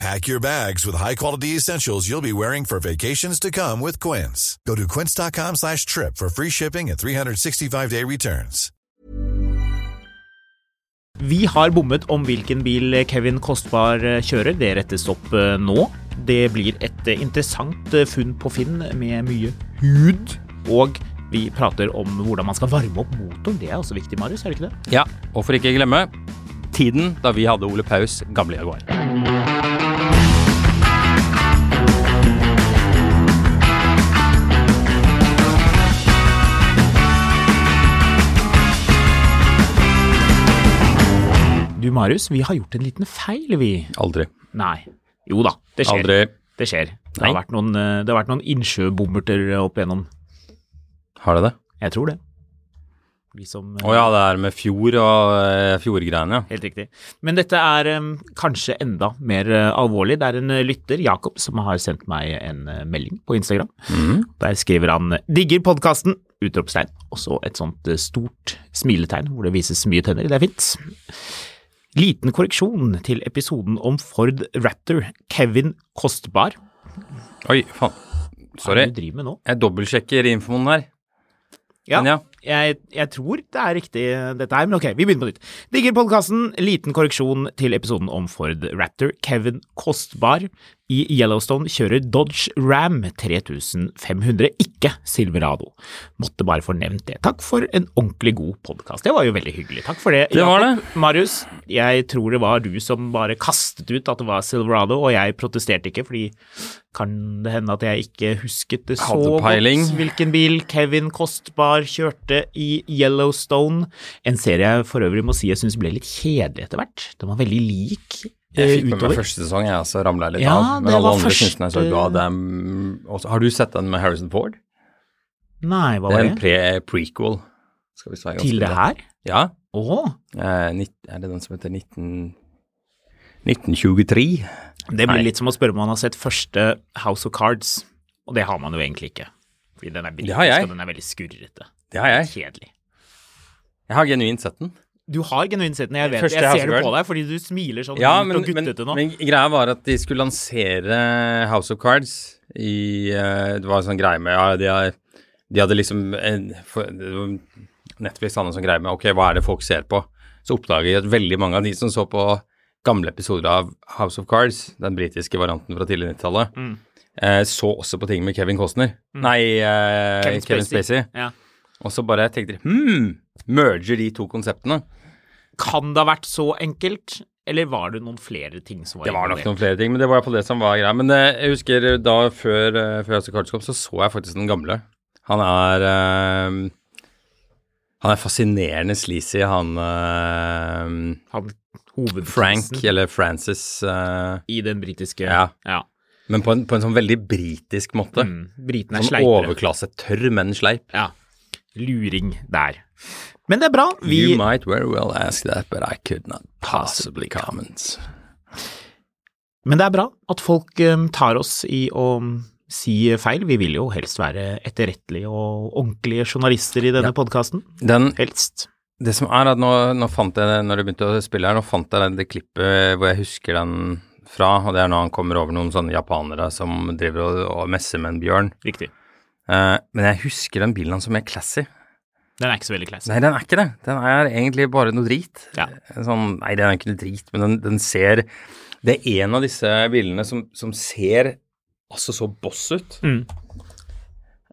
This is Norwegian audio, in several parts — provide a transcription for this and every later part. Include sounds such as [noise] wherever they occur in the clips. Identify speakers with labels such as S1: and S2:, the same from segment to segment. S1: Pack your bags with high-quality essentials you'll be wearing for vacations to come with Quince. Go to quince.com slash trip for free shipping and 365-day returns.
S2: Vi har bommet om hvilken bil Kevin Kostbar eh, kjører. Det rettes opp eh, nå. Det blir et eh, interessant eh, funn på Finn med mye hud. Og vi prater om hvordan man skal varme opp motoren. Det er også viktig, Marius. er det ikke det?
S3: Ja, og for ikke å glemme tiden da vi hadde Ole Paus gamle Jaguar.
S2: Du, Marius, vi har gjort en liten feil, vi.
S3: Aldri.
S2: Nei. Jo da, det skjer.
S3: Aldri.
S2: Det skjer. Det har
S3: Nei.
S2: vært noen, eh, det har vært noen innsjøbommerter opp igjennom.
S3: Har det det?
S2: Jeg tror det. Vi som eh,
S3: Å ja, det er med fjord og eh, fjordgreiene, ja.
S2: Helt riktig. Men dette er em, kanskje enda mer eh, alvorlig. Det er en eh, lytter, Jakob, som har sendt meg en eh, melding på Instagram. Der skriver han 'digger podkasten', utropstegn, og så et sånt eh, stort smiletegn hvor det vises mye tenner. Det er fint. Liten korreksjon til episoden om Ford Raptor, Kevin Kostbar.
S3: Oi, faen.
S2: Hva er
S3: Sorry.
S2: det du driver med nå?
S3: Jeg dobbeltsjekker infoen her. Men ja.
S2: Jeg, jeg tror det er riktig dette her, men ok, vi begynner på nytt. Digger podkasten. Liten korreksjon til episoden om Ford Raptor. Kevin Kostbar i Yellowstone kjører Dodge Ram 3500, ikke Silverado. Måtte bare få nevnt det. Takk for en ordentlig god podkast. Det var jo veldig hyggelig. Takk for det.
S3: Det var
S2: Jakob. Marius, jeg tror det var du som bare kastet ut at det var Silverado, og jeg protesterte ikke, fordi kan det hende at jeg ikke husket det så
S3: Hadde peiling.
S2: godt hvilken bil Kevin Kostbar kjørte i Yellowstone. En serie jeg for øvrig må si jeg syns ble litt kjedelig etter hvert. Den var veldig lik eh,
S3: Jeg fikk med meg
S2: utover.
S3: første sesong, jeg, og så ramla jeg litt
S2: Ja,
S3: av. Men
S2: det
S3: alle
S2: var
S3: andre
S2: første-
S3: synes den er så god. damn. Og så- Har du sett den med Harrison Ford?
S2: Nei, hva
S3: Det
S2: var
S3: er en
S2: det?
S3: pre prequel. Skal vi si ganske
S2: Til det
S3: bra.
S2: her?
S3: Ja.
S2: Å,
S3: Eh, nitt- er det den som heter 19... 1923?
S2: det
S3: Nei.
S2: blir litt som å spørre om man har sett første House of Cards, og det har man jo egentlig ikke. Fordi den er,
S3: Det har jeg.
S2: billig, og den er veldig skurrete.
S3: Det har jeg.
S2: Kjedelig.
S3: Jeg har genuint sett den.
S2: Du har genuint sett den, jeg vet
S3: Første
S2: det. Jeg
S3: House of
S2: ser det på
S3: Cards.
S2: deg fordi du smiler sånn
S3: Ja,
S2: ungt
S3: men,
S2: og
S3: men,
S2: guttete nå.
S3: men greia var at de skulle lansere House of Cards i eh, Det var en sånn greie med ja, de, har, de hadde liksom en, for, det var- Netflix hadde en sånn greie med ok, hva er det folk ser på? Så oppdaget jeg at veldig mange av de som så på gamle episoder av House of Cards, den britiske varianten fra tidlig 90-tallet, eh, så også på ting med Kevin Costner. Nei, eh, Kevin, Spacey.
S2: Ja.
S3: Og så bare tenkte de hm, merger de to konseptene.
S2: Kan det ha vært så enkelt, eller var det noen flere ting som var
S3: Det var nok
S2: involvert?
S3: noen flere ting, men det var iallfall det som var greia. Men eh, jeg husker da før, eh, før Hasse Karlsen kom, så så jeg faktisk den gamle. Han er eh, Han er fascinerende sleazy, han eh,
S2: han hovedprisen
S3: Frank, eller Francis, eh,
S2: i den britiske
S3: Ja. men på en, på en sånn veldig britisk måte.
S2: Mm, Britene er
S3: Sånn
S2: sleipere.
S3: overklassetørr, men sleip.
S2: Ja. Luring der. Men det er bra. Vi,
S3: You might very well ask that, but I could not possibly comment.
S2: men det er bra at folk em, tar oss i å um, si feil. Vi vil jo helst være etterrettelige og ordentlige journalister i denne podkasten.
S3: Den
S2: Helst.
S3: Det som er at nå, nå fant jeg, når du begynte å spille her, nå fant jeg det, det klippet hvor jeg husker den fra, og det er når han kommer over noen sånne japanere som driver og, og messer med en bjørn.
S2: Riktig.
S3: Eh, men jeg husker den bilen hans som er classy.
S2: Den er ikke så veldig kleis.
S3: Nei, den er ikke det. Den er egentlig bare noe drit.
S2: Ja.
S3: Sånn, nei, den er ikke noe drit, men den, den ser Det er en av disse bilene som, som ser altså så boss ut.
S2: Mm.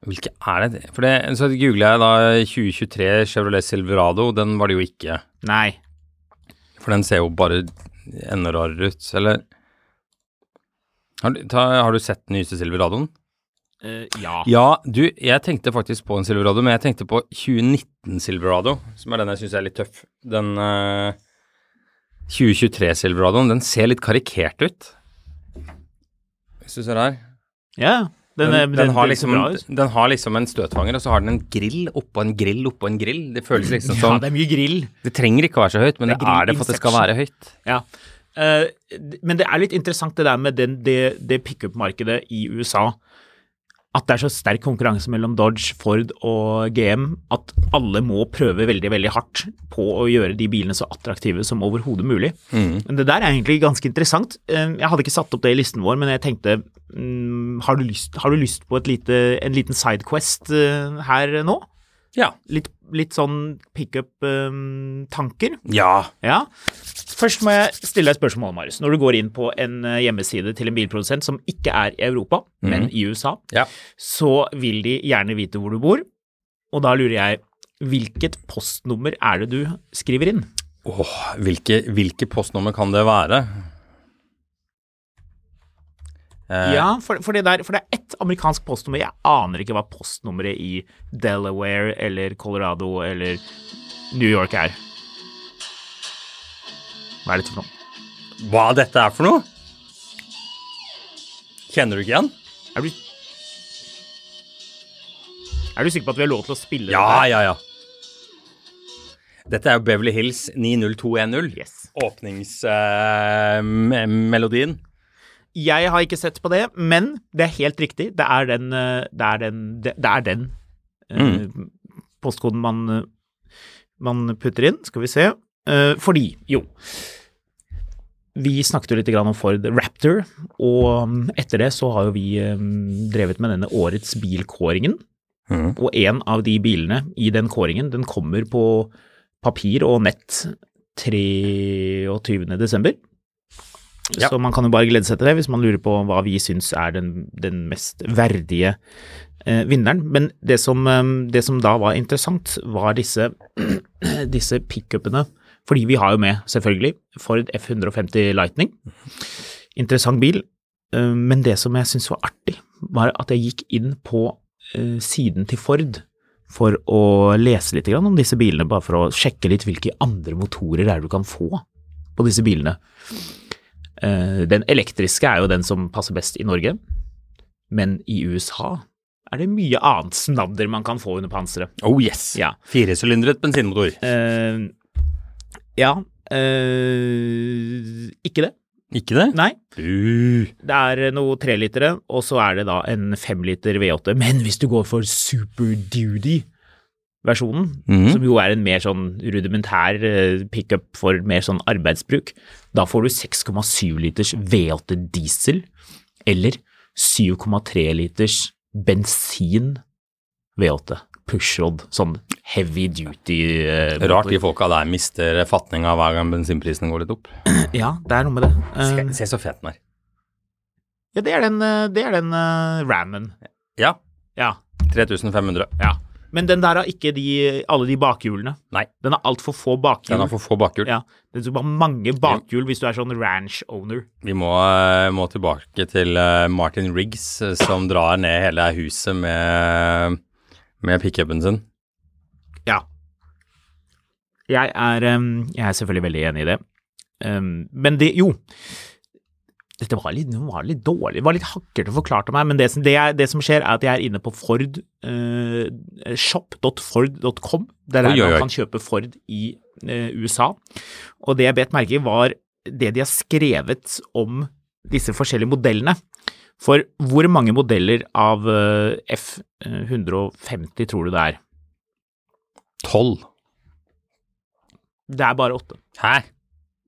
S3: Hvilke er det? For det, så googla jeg da 2023 Chevrolet Silverado, den var det jo ikke.
S2: Nei.
S3: For den ser jo bare enda rarere ut, eller har du, ta, har du sett den nyeste Silveradoen?
S2: Eh, ja.
S3: Ja, du, jeg tenkte faktisk på en Silverado, men jeg tenkte på 2019 Silverado, som er den jeg syns er litt tøff. Den eh, 2023 Silveradoen, den ser litt karikert ut. Hvis du ser her.
S2: Ja. Den,
S3: Den,
S2: den,
S3: den, har
S2: ser
S3: liksom,
S2: bra ut.
S3: den har liksom en støtfanger, og så har den en grill oppå en grill oppå en grill. Det føles liksom
S2: Ja,
S3: som
S2: det er mye grill.
S3: Det trenger ikke å være så høyt, men
S2: Det
S3: det
S2: er grill
S3: er det for at det skal være høyt.
S2: Ja. Eh, d- men det er litt interessant det der med den, det, det pickup-markedet i USA. At det er så sterk konkurranse mellom Dodge, Ford og GM at alle må prøve veldig veldig hardt på å gjøre de bilene så attraktive som overhodet mulig. Men Det der er egentlig ganske interessant. Eh, Jeg hadde ikke satt opp det i listen vår, men jeg tenkte mm, Har du lyst, har du lyst på et lite, en liten sidequest eh, her nå?
S3: Ja.
S2: Litt, litt sånn eh, pickup-tanker?
S3: Ja.
S2: Ja. Først må jeg stille deg et spørsmål, Marius. Når du går inn på en eh, hjemmeside til en bilprodusent som ikke er i Europa, men i USA,
S3: Ja.
S2: så vil de gjerne vite hvor du bor. Og da lurer jeg, hvilket postnummer er det du skriver inn?
S3: Åh, hvilke, hvilke postnummer kan det være? Eh,
S2: Ja, for, for, det der, for det er ett amerikansk postnummer. Jeg aner ikke hva postnummeret i Delaware eller Colorado eller New York er. Hva er dette for noe?
S3: Hva dette er for noe? Kjenner du ikke igjen?
S2: Er du, er du sikker på at vi har lov til å spille
S3: Ja,
S2: dette?
S3: ja, ja. Dette er jo Beverly Hills 90210.
S2: Yes.
S3: eh, Åpningsmelodien.
S2: Jeg har ikke sett på det, men det er helt riktig. Det er den, eh, det er den, det det er den eh, postkoden man, eh, man putter inn. Skal vi se. Eh, Fordi, jo Vi snakket jo litt grann om Ford Raptor, og mm, etter det så har jo vi eh, drevet med denne årets bilkåringen.
S3: Mhm.
S2: Og en av de bilene i den kåringen, den kommer på papir og nett 23. desember.
S3: Ja.
S2: Så man kan jo bare glede seg til det hvis man lurer på hva vi syns er den, den mest verdige eh, vinneren. Men det som, eh, det som da var interessant, var disse, [clears throat] disse pickupene. Fordi vi har jo med, selvfølgelig, Ford F150 Lightning. Interessant bil. Eh, Men det som jeg syntes var artig, var at jeg gikk inn på eh, siden til Ford for å lese litt grann om disse bilene, bare for å sjekke litt hvilke andre motorer er det du kan få på disse bilene. Eh, Den elektriske er jo den som passer best i Norge, men i USA er det mye annet snadder man kan få under panseret.
S3: Oh yes.
S2: Ja.
S3: Firesylindret bensinmotor.
S2: Eh, ja eh, Ikke det.
S3: Ikke det?
S2: Nei.
S3: Uh.
S2: Det er noe trelitere, og så er det da en femliter V8. Men hvis du går for Super Duty-versjonen,
S3: Mhm.
S2: som jo er en mer sånn rudimentær eh, pickup for mer sånn arbeidsbruk, da får du 6,7 liters V8 diesel, eller 7,3 liters bensin V8. Pushrod, sånn heavy duty eh,
S3: Rart
S2: motor.
S3: de folka der mister fatninga hver gang bensinprisen går litt opp.
S2: Ja, det er noe med det. Eh,
S3: Se, se så fet den er.
S2: ja, det er den, eh, det er den eh, Rammen.
S3: Ja.
S2: Ja.
S3: 3500.
S2: Ja. Men den der har ikke de, alle de bakhjulene.
S3: Nei.
S2: Den har altfor få bakhjul.
S3: Den har for få bakhjul.
S2: ja. Den skal bare mange bakhjul hvis du er sånn ranch-owner.
S3: Vi må, eh, må tilbake til eh, Martin Riggs, eh, som drar ned hele huset med, med pickupen sin.
S2: Ja. Jeg er, em, jeg er selvfølgelig veldig enig i det. Em, men det Jo. Dette var litt, det var litt dårlig, det var litt hakkete forklart av meg, men det som, det, er, det som skjer, er at jeg er inne på Ford eh, shop.ford.com. Der
S3: Oi,
S2: er
S3: oi, oi.
S2: man kan kjøpe Ford i eh, USA. Og det jeg bet merke i, var det de har skrevet om disse forskjellige modellene. For hvor mange modeller av eh, F150 tror du det er?
S3: 12.
S2: Det er bare åtte.
S3: Hæ?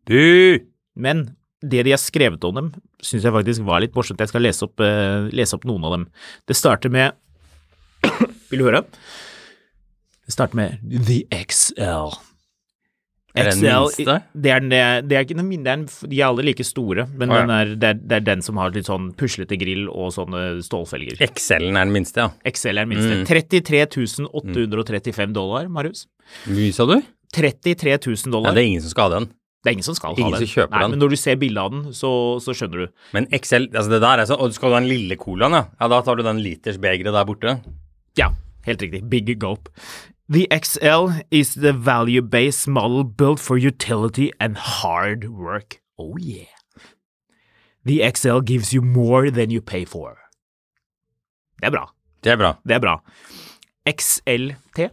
S3: Du!
S2: Men det de har skrevet om dem, syns jeg faktisk var litt morsomt. Jeg skal lese opp, eh, lese opp noen av dem. Det starter med [coughs] Vil du høre? Det starter med The XL.
S3: Er det den minste?
S2: Det er, den- det er ikke den minste, det er en- de er alle like store, men
S3: Å, ja.
S2: den er, det, er, det er den som har litt sånn puslete grill og sånne stålfelger.
S3: XL-en er den minste, ja.
S2: XL er den minste.
S3: Mm.
S2: 33 835 dollar, Marius.
S3: Mye, sa du?
S2: 33 000 dollar.
S3: Ja, det er ingen som skal ha den.
S2: Det er ingen som skal
S3: Ingen
S2: ha den.
S3: som kjøper
S2: Nei,
S3: den.
S2: Men når du ser bildet av den, så, så skjønner du.
S3: Men XL, altså det der er sånn Og skal du ha den lille colaen, ja? Ja, da tar du den litersbegeret der borte.
S2: Ja, helt riktig. Big gulp. The XL is the value-based model built for utility and hard work. Oh yeah. The XL gives you more than you pay for. Det er bra.
S3: Det er bra.
S2: Det er bra. XLT.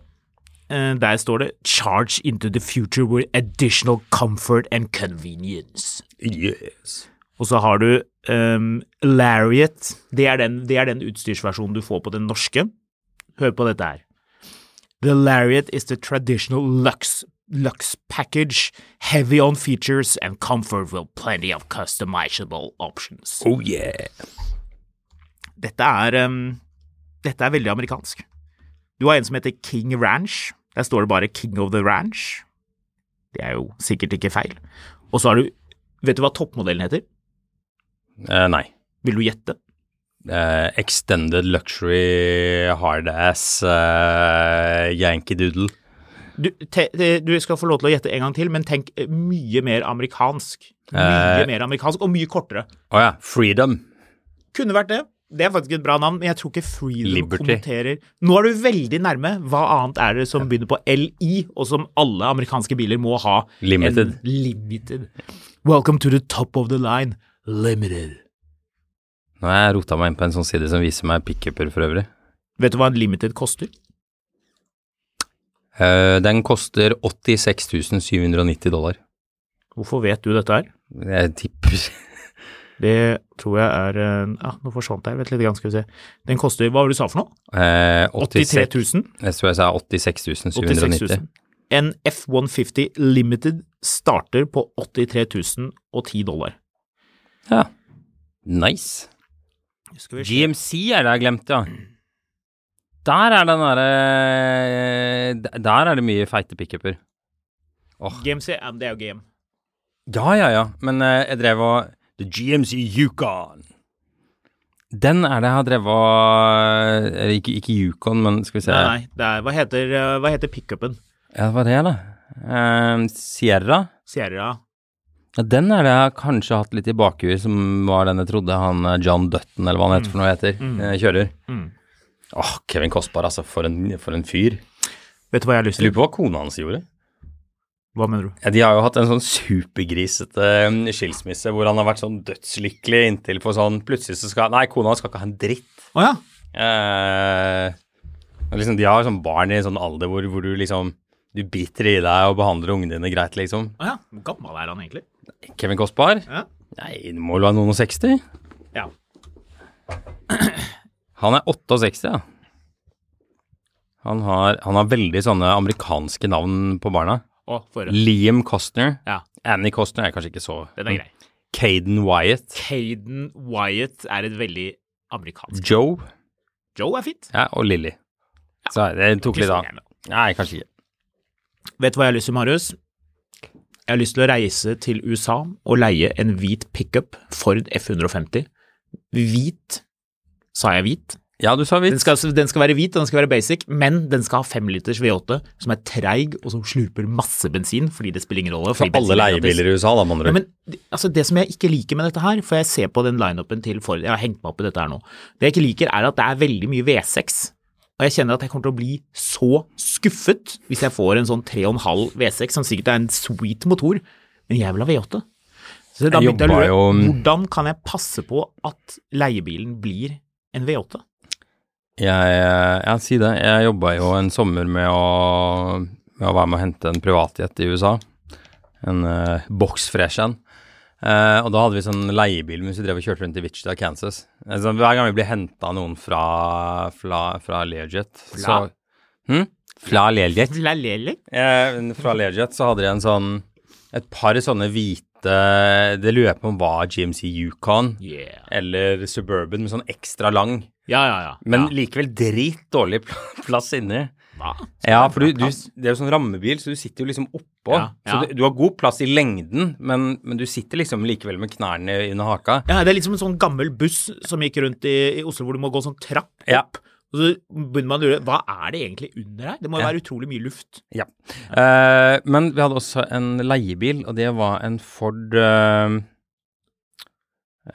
S2: Eh, Der står det 'Charge into the future with additional comfort and convenience'.
S3: Yes.
S2: Og så har du ehm, Lariat. Det er, den, det er den utstyrsversjonen du får på den norske. Hør på dette her. The Lariat is the traditional Lux, Lux package, heavy on features and comfort with plenty of customizable options.
S3: Oh yeah.
S2: Dette er, ehm, dette er veldig amerikansk. Du har en som heter King Ranch. Der står det bare King of the Ranch. Det er jo sikkert ikke feil. Og så har du Vet du hva toppmodellen heter?
S3: Eh, nei.
S2: Vil du gjette?
S3: Eh, extended luxury hardass eh, Yankee Doodle.
S2: Du, te, te, du skal få lov til å gjette en gang til, men tenk eh, mye mer amerikansk. Mye
S3: Eh.
S2: mer amerikansk, og mye kortere.
S3: Å ja. Freedom.
S2: Kunne vært det. Det er faktisk et bra navn, men jeg tror ikke Freedom
S3: Liberty.
S2: kommenterer Nå er du veldig nærme. Hva annet er det som begynner på LI, og som alle amerikanske biler må ha?
S3: Limited.
S2: En limited. Welcome to the top of the line. Limited.
S3: Nå har jeg rota meg inn på en sånn side som viser meg pickuper for øvrig.
S2: Vet du hva en limited koster?
S3: Eh, den koster 86 790 dollar.
S2: Hvorfor vet du dette her?
S3: Jeg tipper
S2: Det tror jeg er eh, Ja, nå forsvant jeg. Vent litt, grann, skal vi se. Den koster Hva var det du sa for noe?
S3: eh,
S2: 83
S3: 86,
S2: 000?
S3: Jeg tror jeg sa 86 790.
S2: En F-150 Limited starter på 83 010 dollar.
S3: Ja. Nice. GMC er det jeg glemte, ja. Der er den derre d- Der er det mye feite pickuper.
S2: GMC, ja, det er jo GM.
S3: Ja, ja, ja. Men eh, jeg drev og The GMC Yukon. Den er det jeg har drevet og eller Ikke, ikke Yukon, men skal vi se
S2: Nei, nei, det er, hva heter, eh, hva heter pickupen?
S3: Ja, det var det, da. Eh, Sierra.
S2: Sierra.
S3: Ja, Den er det jeg har kanskje hatt litt i bakhuet, som var den jeg trodde han eh, John Dutton, eller hva han heter for noe heter, eh, kjører.
S2: Mm.
S3: Åh, Kevin Kostbar, altså. For en, for en fyr.
S2: Vet du hva jeg har lyst
S3: Jeg
S2: til?
S3: lurer på hva kona hans gjorde.
S2: Hå, Hva mener du?
S3: Ja, de har jo hatt en sånn supergrisete mm, skilsmisse hvor han har vært sånn dødslykkelig inntil for sånn Plutselig så skal Nei, kona hans skal ikke ha en dritt.
S2: Å ja.
S3: Eh, og liksom, de har sånn barn i sånn alder hvor, hvor du liksom Du biter i deg og behandler ungene dine greit, liksom.
S2: Å ja. Hvor gammel er han egentlig?
S3: Kevin Kostbar?
S2: Ja.
S3: Nei, det må vel være noen og 60?
S2: ja.
S3: Han er 68, ja. Han har, han har veldig sånne amerikanske navn på barna.
S2: Å, for
S3: Liam Costner.
S2: Ja,
S3: Annie Costner er kanskje ikke så
S2: den er grei.
S3: Caden Wyatt.
S2: Caden Wyatt er et veldig amerikansk
S3: Joe.
S2: Joe er fint.
S3: Ja, og Lilly. Så eh, det tok litt av.
S2: Ikke så gjerne.
S3: Nei, kanskje ikke.
S2: Vet du hva jeg har lyst til, Marius? Jeg har lyst til å reise til USA og leie en hvit pickup Ford F150. Hvit. Sa jeg hvit?
S3: Ja, du sa
S2: Den
S3: vits.
S2: skal, den skal være hvit, og den skal være basic, men den skal ha 5 liters V8, som er treig, og som slurper masse bensin, fordi det spiller ingen rolle.
S3: For
S2: fordi bensin
S3: alle
S2: er gratis.
S3: leiebiler i USA, da, med
S2: Ja,
S3: andre ord.
S2: men det- altså, det som jeg ikke liker med dette her, for jeg ser på den lineupen til Ford, jeg har hengt meg opp i dette her nå, det jeg ikke liker er at det er veldig mye V6. Og jeg kjenner at jeg kommer til å bli så skuffet hvis jeg får en sånn 3,5 V6, som sikkert er en sweet motor, men jeg vil ha V8. Så da
S3: Jeg
S2: begynte jeg å lure,
S3: jobba jo-
S2: hvordan kan jeg passe på at leiebilen blir en V8?
S3: Jeg, ja, si det. Jeg jobba jo en sommer med å, med å være med å hente en privatjet i USA. En uh, box fresh en. Eh, og da hadde vi sånn leiebil mens vi drev og kjørte rundt i Wichita, Kansas. Eh, Så hver gang vi ble henta av noen fra, fra, fra Learjet så,
S2: Fla?
S3: hm? Fra Learjet.
S2: Lelele?
S3: Eh, fra Learjet så hadde de en sånn et par sånne hvite Det lurer jeg på om var GMC Yukon
S2: Yeah.
S3: eller Suburban, men sånn ekstra lang.
S2: Ja, ja, ja.
S3: Men
S2: ja.
S3: likevel dritdårlig pl- [laughs] plass inni.
S2: Hva?
S3: Ja, for du, du, det er jo sånn rammebil, så du sitter jo liksom oppå.
S2: Ja, ja.
S3: Så du, du har god plass i lengden, men, men du sitter liksom likevel med knærne under haka.
S2: Ja, det er litt som en sånn gammel buss som gikk rundt i, i Oslo, hvor du må gå sånn trapp opp.
S3: Ja.
S2: Og så begynner man å lure, hva er det egentlig under her? Det må jo
S3: Ja.
S2: være utrolig mye luft.
S3: Ja. Eh, men vi hadde også en leiebil, og det var en Ford eh,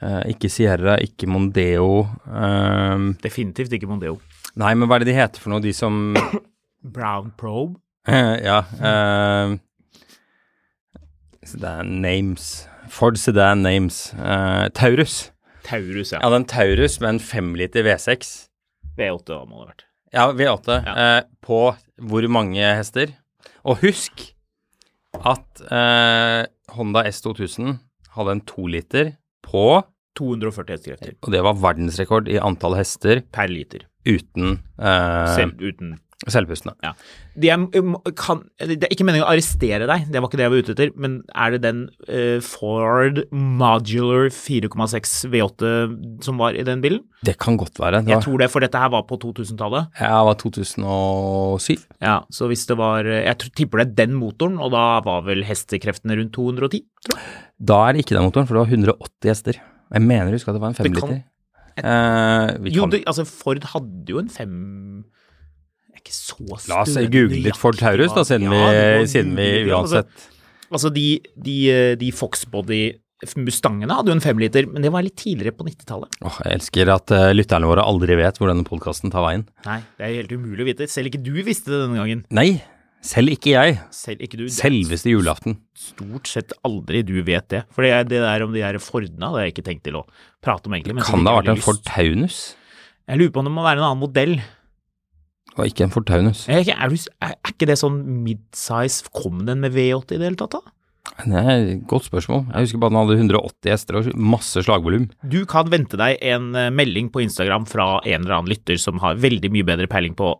S3: eh, Ikke Sierra, ikke Mondeo eh,
S2: Definitivt ikke Mondeo.
S3: Nei, men hva er det de heter for noe, de som
S2: Brown Probe.
S3: Ja. eh, sedan Names. Ford Sedan Names. Eh, Taurus.
S2: Taurus, ja.
S3: Jeg hadde en Taurus med en 5 liter V6.
S2: V8 må det ha vært.
S3: Ja, V8. Eh, på hvor mange hester? Og husk at eh, Honda S2000 hadde en toliter på
S2: 240 hestekrefter
S3: Og det var verdensrekord i antall hester
S2: per liter.
S3: uten eh,
S2: Selv uten
S3: selvpustende.
S2: Ja. De er, eh, kan, det er ikke meningen å arrestere deg, det var ikke det jeg var ute etter, men er det den eh, Ford Modular 4,6 V8 som var i den bilen?
S3: Det kan godt være. Det
S2: Jeg
S3: var,
S2: tror det, for dette her var på 2000-tallet.
S3: ja, det var 2007.
S2: Ja, så hvis det var eh, Jeg tror, tipper det er den motoren, og da var vel hestekreftene rundt 210?
S3: Da er det ikke den motoren, for det var 180 hester. Jeg mener du husker at det var en
S2: Det kan-
S3: femliter. Eh, vi
S2: Jo,
S3: kan
S2: det, altså Ford hadde jo en fem Jeg er ikke så stødig.
S3: La oss google litt Ford Taurus, da, siden, vi, siden vi uansett
S2: Altså, de, de, eh, de Foxbody Mustangene hadde jo en femliter, men det var litt tidligere på 90-tallet.
S3: Åh, Jeg elsker at eh, lytterne våre aldri vet hvor denne podkasten tar veien.
S2: Nei, det er helt umulig å vite. Selv ikke du visste det denne gangen.
S3: Nei, selv ikke jeg.
S2: Selv ikke du.
S3: Selveste julaften.
S2: Stort sett aldri du vet det. For det, er- det der om de der Fordene hadde jeg ikke tenkt til å prate om, egentlig. men så
S3: Kan
S2: fikk
S3: det ha
S2: jeg
S3: vært en
S2: veldig
S3: Ford
S2: lyst.
S3: Taunus?
S2: Jeg lurer på om det må være en annen modell.
S3: Og ikke en Ford Taunus.
S2: Er, ikke- er, du, er, er ikke det sånn midsize Kom den med V8 i det hele tatt, da?
S3: Det er et godt spørsmål. Jeg husker bare den hadde 180 hester og masse slagvolum.
S2: Du kan vente deg en eh, melding på Instagram fra en eller annen lytter som har veldig mye bedre peiling på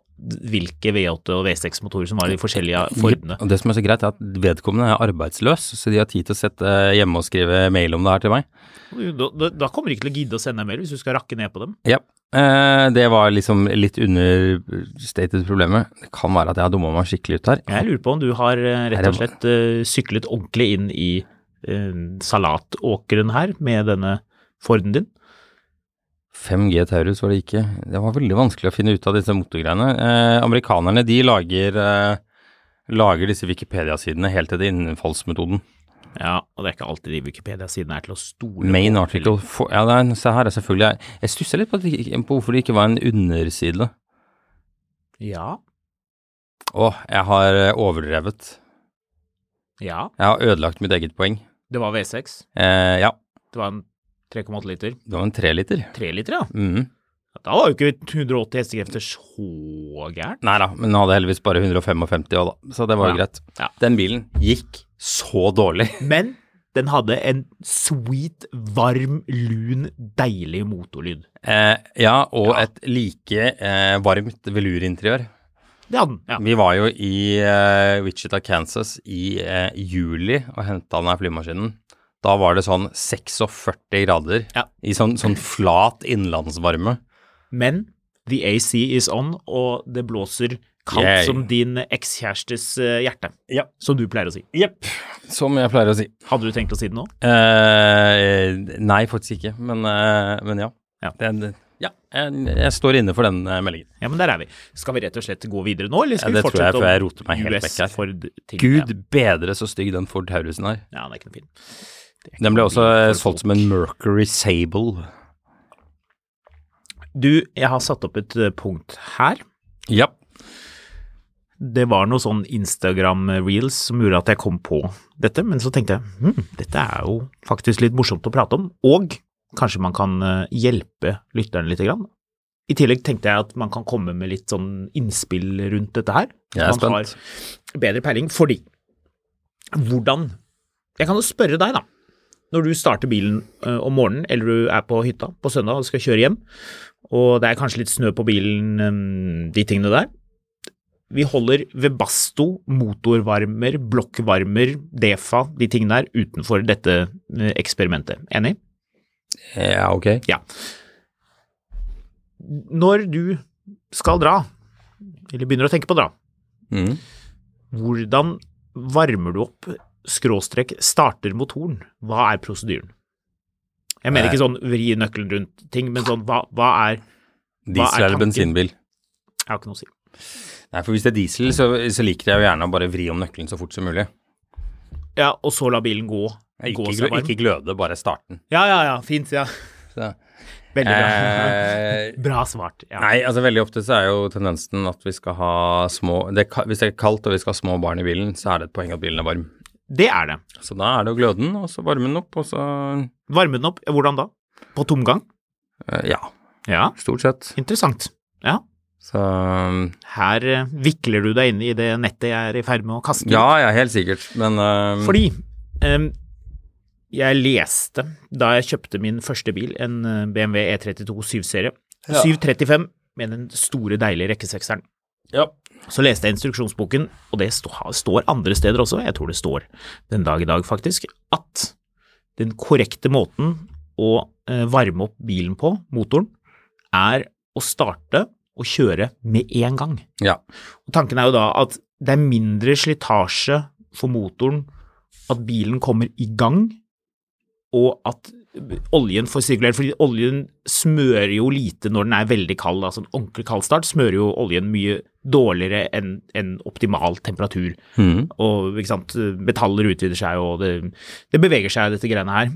S2: hvilke V8 og V6-motorer som var i de forskjellige Fordene.
S3: Og det som er så greit, er at vedkommende er arbeidsløs, så de har tid til å sette hjemme og skrive mail om det her til meg.
S2: Da, da, da kommer de ikke til å gidde å sende en mail hvis du skal rakke ned på dem.
S3: Ja. Eh, det var liksom litt understated problemet. Det kan være at jeg har dumma meg skikkelig ut her.
S2: Jeg lurer på om du har eh, rett
S3: Er
S2: og
S3: det-
S2: slett eh, syklet ordentlig inn i eh, salatåkeren her med denne Forden din.
S3: 5G Taurus var det ikke. Det var veldig vanskelig å finne ut av disse motorgreiene. Eh, amerikanerne de lager, eh, lager disse Wikipedia-sidene helt etter innfallsmetoden.
S2: Ja, og det er ikke alltid de Wikipedia-sidene er til å stole
S3: Main
S2: på.
S3: article for, Ja, det er, se her er selvfølgelig Jeg stusser litt på, at det ikke- på hvorfor det ikke var en underside.
S2: Ja,
S3: Å, jeg har eh, overdrevet.
S2: ja.
S3: Jeg har ødelagt mitt eget poeng.
S2: Det var V6.
S3: Eh, ja,
S2: Det var en 3,8 liter.
S3: det var en treliter.
S2: 3 liter, ja.
S3: Mm.
S2: Da var jo ikke 180 hestekrefter så gærent.
S3: Nei da, men den hadde heldigvis bare 155 òg, da. Så det var
S2: Ja.
S3: jo greit.
S2: Ja.
S3: Den bilen gikk så dårlig.
S2: Men den hadde en sweet, varm, lun, deilig motorlyd.
S3: Eh, ja, og et like eh, varmt velurinteriør.
S2: Det hadde den, ja.
S3: Vi var jo i eh, Wichita, Kansas i eh, juli og henta den her flymaskinen. Da var det sånn 46 grader
S2: Ja.
S3: i sånn, sånn flat innlandsvarme.
S2: Men the AC is on, og det blåser kaldt
S3: Yay.
S2: som din ekskjærestes eh, hjerte.
S3: Ja.
S2: Som du pleier å si.
S3: Jepp. Som jeg pleier å si.
S2: Hadde du tenkt å si det nå?
S3: Eh, nei, faktisk ikke, men, eh, men ja.
S2: Ja.
S3: Det, det, ja jeg, jeg står inne for den eh, meldingen.
S2: Ja, men der er vi. Skal vi rett og slett gå videre nå, eller
S3: Ja,
S2: skal vi
S3: det tror jeg,
S2: fortsette
S3: for jeg roter meg helt vekk her.
S2: US Ford ting?
S3: Gud bedre så stygg den Ford Taurusen er.
S2: Ja, ja, den er ikke noe fin. Det er ikke
S3: Den ble
S2: noe
S3: også
S2: bil
S3: eh,
S2: for folk.
S3: solgt som en Mercury Sable.
S2: Du, jeg har satt opp et eh, punkt her.
S3: Ja.
S2: Det var noe sånn Instagram-reels som gjorde at jeg kom på dette, men så tenkte jeg hm, dette er jo faktisk litt morsomt å prate om, og kanskje man kan eh, hjelpe lytteren lite grann. I tillegg tenkte jeg at man kan komme med litt sånn innspill rundt dette her.
S3: Jeg er
S2: Man har
S3: spent.
S2: Bedre peiling, fordi hvordan Jeg kan jo spørre deg, da. Når du starter bilen eh, om morgenen, eller du er på hytta på søndag og skal kjøre hjem, og det er kanskje litt snø på bilen, eh, de tingene der. Vi holder Webasto, motorvarmer, blokkvarmer, Defa, de tingene der, utenfor dette eh, eksperimentet. Enig?
S3: Ja, ok.
S2: Ja. Når du skal dra, eller begynner å tenke på å dra,
S3: Mm.
S2: hvordan varmer du opp, skråstrek, starter motoren? Hva er prosedyren? Jeg mener ikke sånn vri nøkkelen rundt ting, men sånn hva, hva er Hva er
S3: Diesel eller
S2: tanken?
S3: bensinbil?
S2: Jeg har ikke noe å si.
S3: Nei, for hvis det er diesel, så, så liker jeg jo gjerne å bare vri om nøkkelen så fort som mulig.
S2: Ja, og så la bilen gå.
S3: Ikke,
S2: gå
S3: glø, ikke gløde, bare starten.
S2: Ja, ja, ja. Fint, ja.
S3: Så.
S2: Veldig bra.
S3: Eh,
S2: [laughs] bra svart. Ja.
S3: [laughs] nei, altså veldig ofte så er jo tendensen at vi skal ha små det, er ka- Hvis det er kaldt og vi skal ha små barn i bilen, så er det et poeng at bilen er varm.
S2: Det er det.
S3: Så da er det å gløde den, og så varme den opp, og så
S2: Varme den opp. Hvordan da? På tomgang?
S3: eh, Ja,
S2: Ja.
S3: stort sett.
S2: Interessant. Ja.
S3: Så
S2: Her eh, vikler du deg inn i det nettet jeg er i ferd med å kaste ut.
S3: Ja, ja, helt sikkert, men eh,
S2: Fordi em, jeg leste da jeg kjøpte min første bil, en eh, BMW E32 7-serie, 735 med den store, deilige rekkesekseren.
S3: Ja.
S2: Så leste jeg instruksjonsboken, og det stå, står andre steder også, jeg tror det står den dag i dag faktisk, at den korrekte måten å eh, varme opp bilen på, motoren, er å starte og kjøre med en gang.
S3: ja.
S2: Og tanken er jo da at det er mindre slitasje for motoren at bilen kommer i gang, og at oljen får sirkulert, fordi oljen smører jo lite når den er veldig kald, altså en ordentlig kald start smører jo oljen mye dårligere enn enn optimal temperatur.
S3: Mhm.
S2: Og ikke sant, metaller utvider seg, og det, det beveger seg, dette greiene her.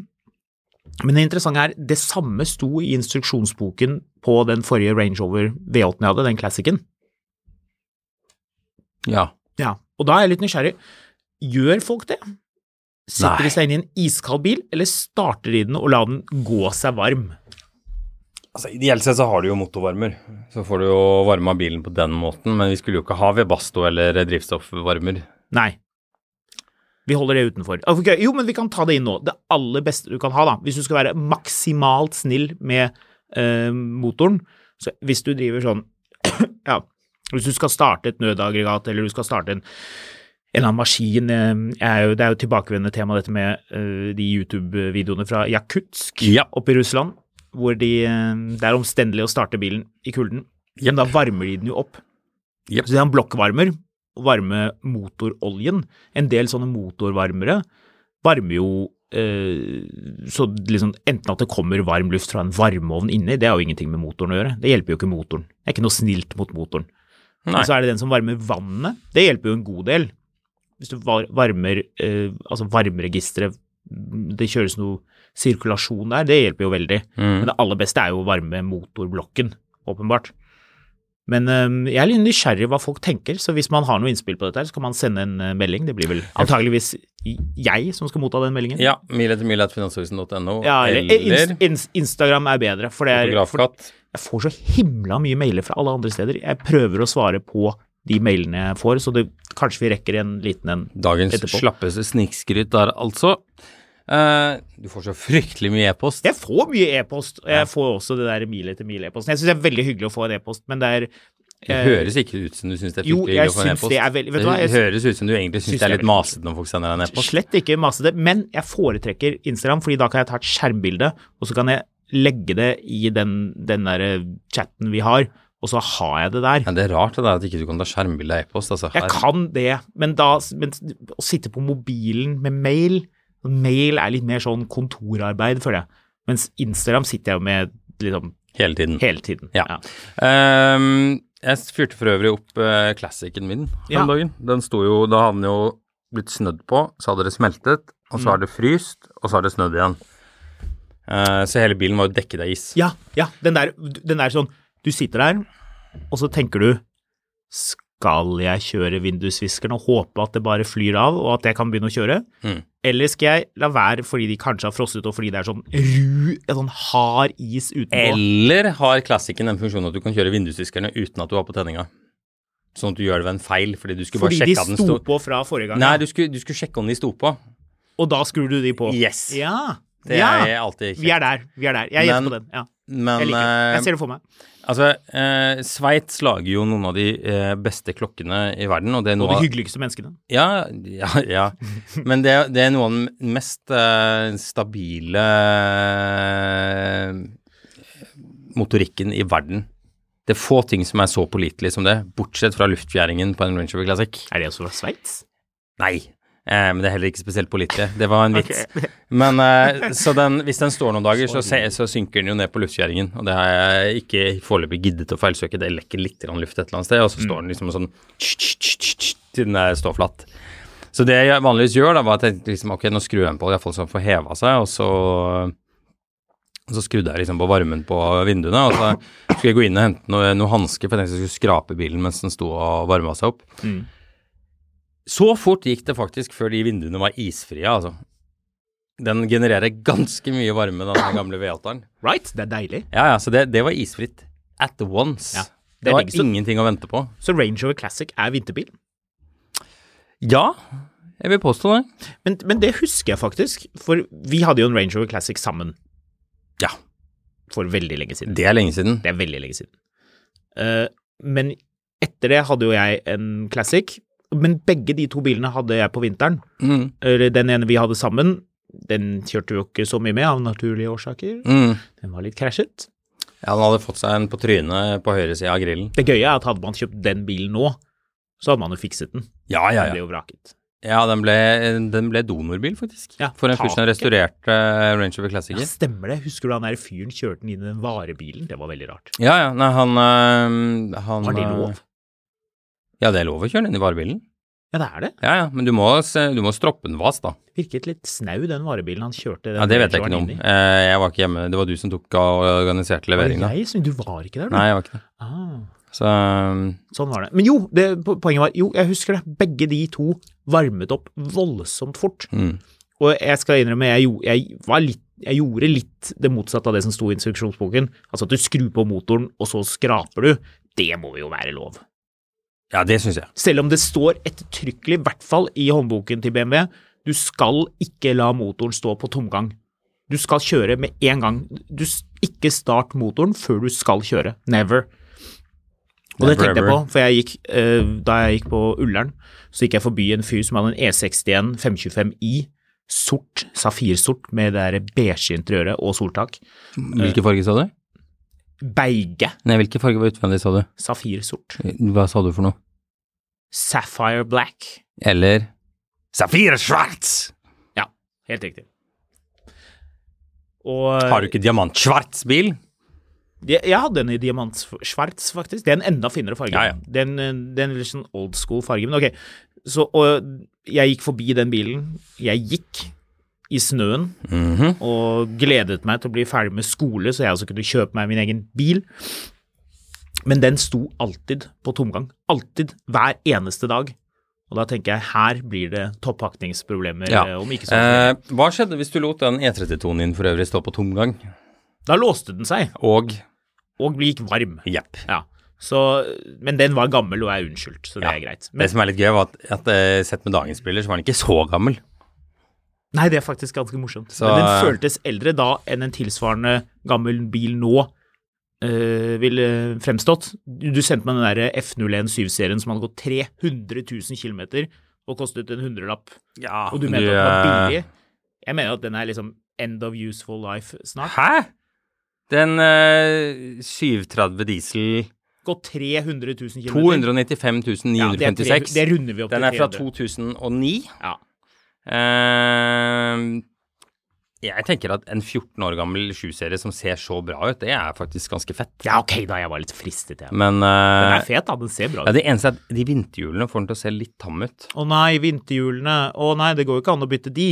S2: Men det interessante er, det samme sto i instruksjonsboken på den forrige Range Rover V8-en jeg hadde, den classicen.
S3: ja.
S2: Ja, og da er jeg litt nysgjerrig. Gjør folk det? Setter
S3: Nei.
S2: de seg inn i en iskald bil, eller starter de den og lar den gå seg varm?
S3: Altså, Ideelt sett så har du jo motorvarmer, så får du jo varma bilen på den måten. Men vi skulle jo ikke ha Webasto eller drivstoffvarmer.
S2: Nei. Vi holder det utenfor. Ah, ok, Jo, men vi kan ta det inn nå. Det aller beste du kan ha, da, hvis du skal være maksimalt snill med eh, motoren så Hvis du driver sånn [clears throat] Ja, hvis du skal starte et nødaggregat, eller du skal starte en en annen maskin eh, er jo, Det er jo et tilbakevendende tema, dette med eh, de YouTube-videoene fra Jakutsk
S3: Ja.
S2: oppe i Russland, hvor de, eh, det er omstendelig å starte bilen i kulden.
S3: Jep.
S2: Men da varmer de den jo opp.
S3: Jep.
S2: Så de har en blokkvarmer og varme motoroljen. En del sånne motorvarmere varmer jo eh, så liksom Enten at det kommer varm luft fra en varmeovn inni, det har jo ingenting med motoren å gjøre. Det hjelper jo ikke motoren. Det er ikke noe snilt mot motoren. Men
S3: Nei.
S2: så er det den som varmer vannet. Det hjelper jo en god del. Hvis du var, varmer eh, altså varmeregisteret, det kjøres noe sirkulasjon der, det hjelper jo veldig.
S3: Hmm.
S2: Men det aller beste er jo å varme motorblokken, åpenbart. Men øhm, jeg er litt nysgjerrig hva folk tenker, så hvis man har noe innspill på dette, her, så kan man sende en øh, melding. Det blir vel antageligvis jeg som skal motta den meldingen.
S3: Ja, mil etter mil at finansavisen.no,
S2: Ja, eller, eh,
S3: eller
S2: Inst- Inst- Instagram er bedre, for det er, for
S3: Fotografkatt.
S2: jeg får så himla mye mailer fra alle andre steder. Jeg prøver å svare på de mailene jeg får, så det, kanskje vi rekker en liten en.
S3: Dagens
S2: etterpå.
S3: slappeste snikskryt der, altså. Eh, du får så fryktelig mye e-post.
S2: Jeg får mye e-post, og jeg får også det der mil etter mil-e-posten. Jeg syns det er veldig hyggelig å få en e-post, men det er
S3: Det
S2: eh,
S3: høres ikke ut som du syns det er
S2: jo,
S3: fryktelig
S2: jeg
S3: hyggelig å få en
S2: syns
S3: e-post.
S2: det er veldig- vet du hva, jeg-
S3: høres ut som du egentlig syns det er
S2: det er
S3: litt masete når folk sender deg en e-post.
S2: Slett ikke masete, men jeg foretrekker Instagram, fordi da kan jeg ta et skjermbilde, og så kan jeg legge det i den, den der eh, chatten vi har, og så har jeg det der.
S3: Ja, det er rart det der at ikke du kan ta skjermbilde av e-post. Altså,
S2: Jeg
S3: Her-
S2: kan det, men, da, men å sitte på mobilen med mail Mail er litt mer sånn kontorarbeid, føler jeg. Mens Instagram sitter jeg jo med liksom
S3: hele tiden.
S2: hele tiden.
S3: Ja. Ehm, jeg fyrte for øvrig opp uh, classicen min den
S2: Ja.
S3: dagen. Den sto jo, da hadde den jo blitt snødd på, så hadde det smeltet, og
S2: Mm.
S3: så har det fryst, og så har det snødd igjen. Eh, så hele bilen var jo dekket av is.
S2: Ja, ja. Den der, den der sånn Du sitter der, og så tenker du Skal jeg kjøre vindusviskeren og håpe at det bare flyr av, og at jeg kan begynne å kjøre?
S3: Mm.
S2: Eller skal jeg la være fordi de kanskje har frosset, og fordi det er sånn ru, en sånn hard is utenpå?
S3: Eller har classicen den funksjonen at du kan kjøre vindusviskerne uten at du har på tenninga? Sånn at du gjør det ved en feil, fordi du skulle
S2: Fordi
S3: bare
S2: de
S3: sjekke at den
S2: sto
S3: sto
S2: på fra forrige gang,
S3: Nei,
S2: ja.
S3: du skulle, du skulle sjekke om de sto på.
S2: og da skrur du de på.
S3: Yes.
S2: Ja.
S3: Det
S2: ja.
S3: er alltid
S2: Vi er der. Vi er der. Jeg gjetter
S3: Men-
S2: på den. Ja.
S3: Men
S2: Jeg liker den.
S3: eh,
S2: Jeg ser det for meg.
S3: altså, eh, Sveits lager jo noen av de eh, beste klokkene i verden, og det er
S2: Og
S3: noe
S2: de
S3: av-
S2: hyggeligste menneskene.
S3: Ja, ja, ja. Men det, det er noe av den mest eh, stabile eh, motorikken i verden. Det er få ting som er så pålitelig som det, bortsett fra luftfjæringen på en Range Rover Classic.
S2: Er det også fra Sveits?
S3: Nei, eh, men det er heller ikke spesielt pålitelig. Det var en vits.
S2: Ok.
S3: Men eh, så den, hvis den står noen dager, så, se, så synker den jo ned på luftfjæringen. Og det har jeg ikke foreløpig giddet å feilsøke. Det lekker litt grann luft et eller annet sted, og så står den liksom sånn til den der står flatt. Så det jeg vanligvis gjør, da, var at jeg tenkte liksom, ok, nå skrur jeg den på, iallfall så den får heva seg, og så og så skrudde jeg liksom på varmen på vinduene, og så skulle jeg gå inn og hente noe, noe hansker, for jeg tenkte jeg skulle skrape bilen mens den sto og varma seg opp.
S2: Mm.
S3: Så fort gikk det faktisk før de vinduene var isfrie, altså. Den genererer ganske mye varme, den gamle V8-eren.
S2: Right? Det er deilig.
S3: Ja, ja, så det, det var isfritt. At once.
S2: Ja. Det
S3: Det
S2: er
S3: var
S2: begge som-
S3: ingenting å vente på.
S2: Så Range Rover Classic er vinterbil.
S3: Ja, jeg vil påstå det.
S2: Men, men det husker jeg faktisk, for vi hadde jo en Range Rover Classic sammen
S3: Ja,
S2: for veldig lenge siden.
S3: det er lenge siden.
S2: Det er veldig lenge siden. Eh, men etter det hadde jo jeg en Classic, men begge de to bilene hadde jeg på vinteren.
S3: Mm.
S2: Eller den ene vi hadde sammen, den kjørte vi jo ikke så mye med av naturlige årsaker.
S3: Mm.
S2: Den var litt krasjet.
S3: Ja, han hadde fått seg en på trynet på høyre side av grillen.
S2: Det gøye er at hadde man kjøpt den bilen nå, så hadde man jo fikset den.
S3: Ja, ja,
S2: Den ble
S3: ja.
S2: jo vraket.
S3: Ja, den ble, den ble donorbil, faktisk.
S2: Ja,
S3: For en fyr som
S2: taket.
S3: restaurerte eh, Range Rover
S2: Ja,
S3: Classicer.
S2: stemmer det. Husker du han der fyren kjørte den inn i den varebilen? Det var veldig rart.
S3: Ja, ja. Nei, han, eh, han
S2: Var det
S3: eh,
S2: lov?
S3: Ja, det er lov å kjøre den inn i varebilen.
S2: Ja, det er det.
S3: Ja, ja. Men du må, se- du må stroppe den vas, da.
S2: Virket litt snau, den varebilen han kjørte. Den
S3: Ja, Det vet jeg ikke noe om.
S2: Range Roveren inn i.
S3: Eh, Jeg var ikke hjemme. Det var du som tok og organiserte
S2: Var det
S3: leveringa.
S2: jeg som Du var ikke der, du?
S3: Nei, jeg var ikke det.
S2: Ah,
S3: Så um,
S2: sånn var det. Men jo, det, po- poenget var Jo, jeg husker det. Begge de to varmet opp voldsomt fort.
S3: mm.
S2: Og jeg skal innrømme, jeg, gjo- jeg, var litt, jeg gjorde litt det motsatte av det som sto i instruksjonsboken. Altså at du skrur på motoren, og så skraper du. Det må jo være lov.
S3: Ja, det syns jeg.
S2: Selv om det står ettertrykkelig, i hvert fall i håndboken til BMW, du skal ikke la motoren stå på tomgang. Du skal kjøre med en gang. Du s- Ikke start motoren før du skal kjøre. Never. Og det
S3: Never
S2: tenkte jeg
S3: ever.
S2: på, for jeg gikk, eh, da jeg gikk på Ullern, så gikk jeg forbi en fyr som hadde en E61 525i, sort, safirsort, med det der beige interiøret og soltak.
S3: Hvilken farge sa du?
S2: Beige
S3: Nei, hvilken farge var utvendig, sa du?
S2: safirsort.
S3: Hva sa du for noe?
S2: Sapphire black.
S3: Eller Safir Schwartz!
S2: Ja, helt riktig. Og
S3: Har du ikke diamant-schwartz bil?
S2: Jeg, jeg hadde en i diamantsvarts, faktisk. Det er en enda finere farge.
S3: Ja, ja.
S2: Det er en, det er en litt sånn old school farge. Men ok, så og jeg gikk forbi den bilen. Jeg gikk i snøen
S3: Mhm.
S2: og gledet meg til å bli ferdig med skole, så jeg også kunne kjøpe meg min egen bil. Men den sto alltid på tomgang. Alltid. Hver eneste dag. Og da tenker jeg her blir det toppakningsproblemer eh, om ikke så
S3: Eh, hva skjedde hvis du lot den E32-en din for øvrig stå på tomgang?
S2: Da låste den seg,
S3: Og
S2: og gikk varm.
S3: jepp.
S2: Ja. Så, men den var gammel og er unnskyldt, så det er greit.
S3: Det
S2: Men,
S3: som er litt gøy, var at, at eh, sett med dagens briller, så var den ikke så gammel.
S2: nei, det er faktisk ganske morsomt.
S3: Så- eh,
S2: men den føltes eldre da enn en tilsvarende gammel bil nå eh, ville fremstått. Du, du sendte meg den der F017-serien som hadde gått 300 000 km og kostet en hundrelapp,
S3: Ja,
S2: og du mente at den
S3: eh,
S2: var billig. Jeg mener at den er liksom end of useful life snart.
S3: Hæ? Den eh, 730 diesel
S2: Gått 300 000 km.
S3: 295
S2: det, er tre-
S3: 956.
S2: det runder vi opp
S3: den er
S2: til
S3: fra
S2: 300.
S3: 2009.
S2: Ja.
S3: Ehm, jeg tenker at en 14 år gammel 7-serie som ser så bra ut, det er faktisk ganske fett.
S2: ja, ok, da. Jeg var litt fristet, jeg.
S3: Men
S2: Den
S3: eh,
S2: er fet, da. Den ser bra ut.
S3: ja, det eneste er at de vinterhjulene får den til å se litt tam ut.
S2: Å nei, vinterhjulene. Å nei, det går jo ikke an å bytte de.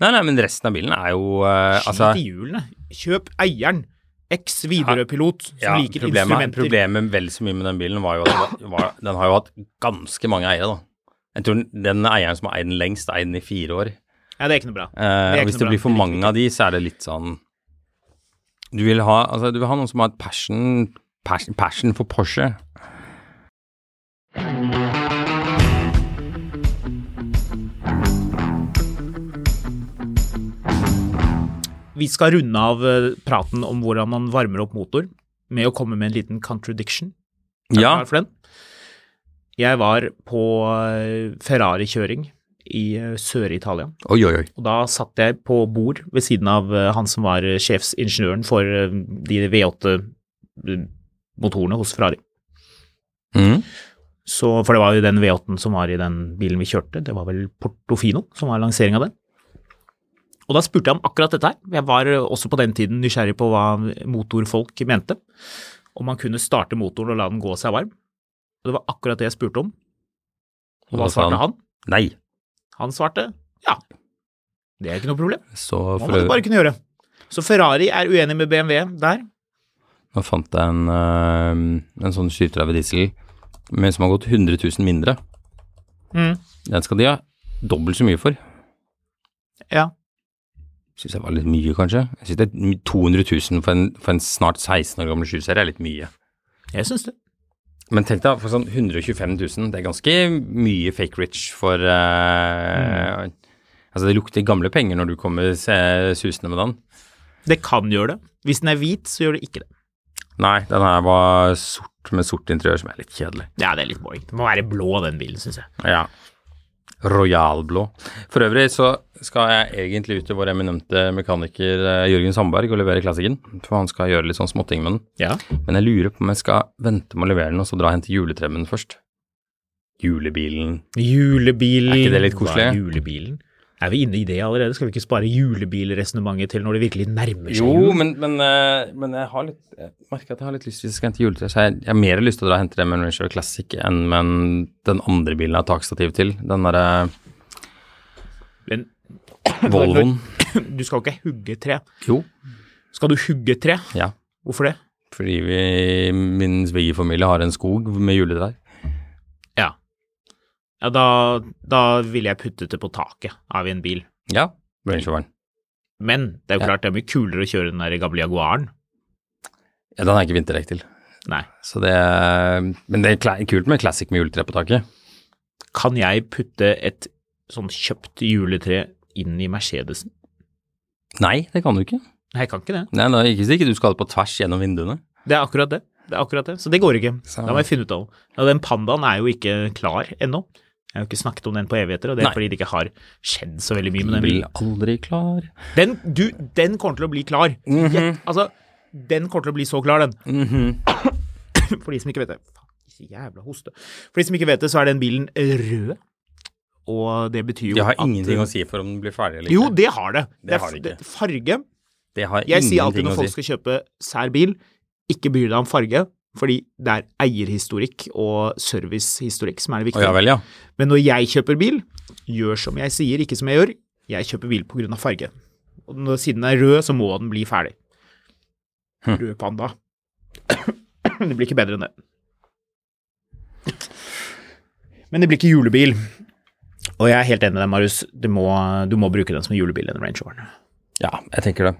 S3: Nei, nei, men resten av bilen er jo eh,
S2: Skit
S3: altså,
S2: i hjulene. Kjøp eieren. Eks Widerøe-pilot som
S3: ja,
S2: liker
S3: problemet,
S2: instrumenter.
S3: problemet vel så mye med den bilen var jo at den, var, den har jo hatt ganske mange eiere, da. Jeg tror den, den eieren som har eid den lengst, har eid den i fire år.
S2: Ja, det er ikke noe bra.
S3: Eh,
S2: ikke
S3: og
S2: noe
S3: hvis
S2: bra.
S3: det blir for
S2: Det liker vi
S3: mange av de, så er det litt sånn Du vil ha, altså, du vil ha noen som har et passion, passion, passion for Porsche.
S2: Vi skal runde av eh, praten om hvordan man varmer opp motor med å komme med en liten contradiction. Er du
S3: Ja,
S2: klar for den? Jeg var på eh, Ferrari-kjøring i eh, Sør-Italia.
S3: oi, oi, oi.
S2: Og da satt jeg på bord ved siden av eh, han som var eh, sjefsingeniøren for eh, de V8-motorene hos Ferrari.
S3: Mhm.
S2: Så, for det var jo den V8-en som var i den bilen vi kjørte, det var vel Portofino som var lansering av den. Og da spurte jeg om akkurat dette her. Jeg var eh, også på den tiden nysgjerrig på hva motorfolk mente. Om man kunne starte motoren og la den gå seg varm. Og det var akkurat det jeg spurte om. Og hva svarte han?
S3: Nei.
S2: Han svarte ja. Det er ikke noe problem.
S3: Så
S2: Hva må
S3: for
S2: du bare
S3: øvrig
S2: kunne gjøre? Så Ferrari er uenig med BMW der.
S3: Nå fant jeg en, eh, en sånn 730 diesel men som har gått 100 000 mindre.
S2: Mm.
S3: Den skal de ha dobbelt så mye for.
S2: Ja.
S3: Syns jeg var litt mye, kanskje. Jeg synes det er 200 000 for en, for en snart 16 år gammel 7-serie er litt mye.
S2: Jeg syns det.
S3: Men tenk deg, for sånn 125 000, det er ganske mye fake rich for eh, Altså, det lukter gamle penger når du kommer eh, susende med den.
S2: Det kan gjøre det. Hvis den er hvit, så gjør det ikke det.
S3: Nei, den her var sort med sort interiør, som er litt kjedelig.
S2: Ja, det er litt boring. Det må være blå, den bilen, syns jeg.
S3: Ja. Royalblå. For øvrig så skal jeg egentlig ut til vår eminente mekaniker eh, Jørgen Sandberg og levere klassikken. For han skal gjøre litt sånn småting med den.
S2: Ja.
S3: Men jeg lurer på om jeg skal vente med å levere den, og så dra og hente juletreet med den først. Julebilen.
S2: Julebilen.
S3: Er ikke det litt koselig?
S2: Hva er julebilen? Er vi inne i det allerede? Skal vi ikke spare julebilresonnementet til når det virkelig nærmer seg?
S3: Jo,
S2: jul?
S3: men, men, eh, men jeg har litt Jeg merker at jeg har litt lyst hvis jeg skal hente juletre. Så jeg, jeg har mer lyst til å dra og hente det med en Range Rover Classic enn med en- den andre bilen jeg har takstativ til. Den derre
S2: Men
S3: Volvoen.
S2: du skal ikke hugge et tre.
S3: Jo.
S2: Skal du hugge et tre?
S3: Ja.
S2: Hvorfor det?
S3: Fordi vi, min svigerfamilie har en skog med juletrær.
S2: Ja. Ja, da, da ville jeg puttet det på taket av en bil.
S3: Ja. Range Roveren.
S2: Men det er jo
S3: Ja.
S2: klart det er mye kulere å kjøre den der gamle Jaguaren.
S3: Ja, den er ikke vinterdekk til.
S2: Nei.
S3: Så det er, men det er kla- kult med classic med juletre på taket.
S2: Kan jeg putte et sånn kjøpt juletre inn i Mercedesen?
S3: Nei, det kan du ikke.
S2: Nei, jeg kan ikke det.
S3: Nei, nei, ikke så ikke du skal på tvers gjennom vinduene.
S2: Det er akkurat det. Det er akkurat det. Så det går ikke.
S3: Så-
S2: Da må jeg finne ut av det. Og den pandaen er jo ikke klar ennå. Jeg har jo ikke snakket om den på evigheter, og det er
S3: Nei.
S2: fordi det ikke har skjedd så veldig mye med den
S3: Blir
S2: bilen.
S3: aldri klar.
S2: Den, du, den kommer til å bli klar.
S3: Mhm.
S2: Gjett- Altså, den kommer til å bli så klar, den. mhm. For de som ikke vet det. Faen, jævla hoste. For de som ikke vet det, så er den bilen rød, og det betyr jo
S3: Jeg har
S2: at
S3: ingenting å si for om den blir ferdig eller
S2: Jo,
S3: ikke.
S2: det har det.
S3: Det har det
S2: er f- Farge
S3: Det har
S2: Jeg sier alltid
S3: ingenting
S2: når
S3: å
S2: folk
S3: si.
S2: skal kjøpe sær bil, ikke bry deg om farge, fordi det er eierhistorikk og servicehistorikk som er det
S3: Å ja
S2: viktige.
S3: vel, ja.
S2: Men når jeg kjøper bil, gjør som jeg sier, ikke som jeg gjør. Jeg kjøper bil pga. farge. Og når, siden den er rød, så må den bli ferdig.
S3: Hm.
S2: Rød panda. [coughs] det blir ikke bedre enn det. Men det blir ikke julebil. Og jeg er helt enig med deg, Marius. Du må, du må bruke den som julebil, den Range Roveren.
S3: Ja, jeg tenker det.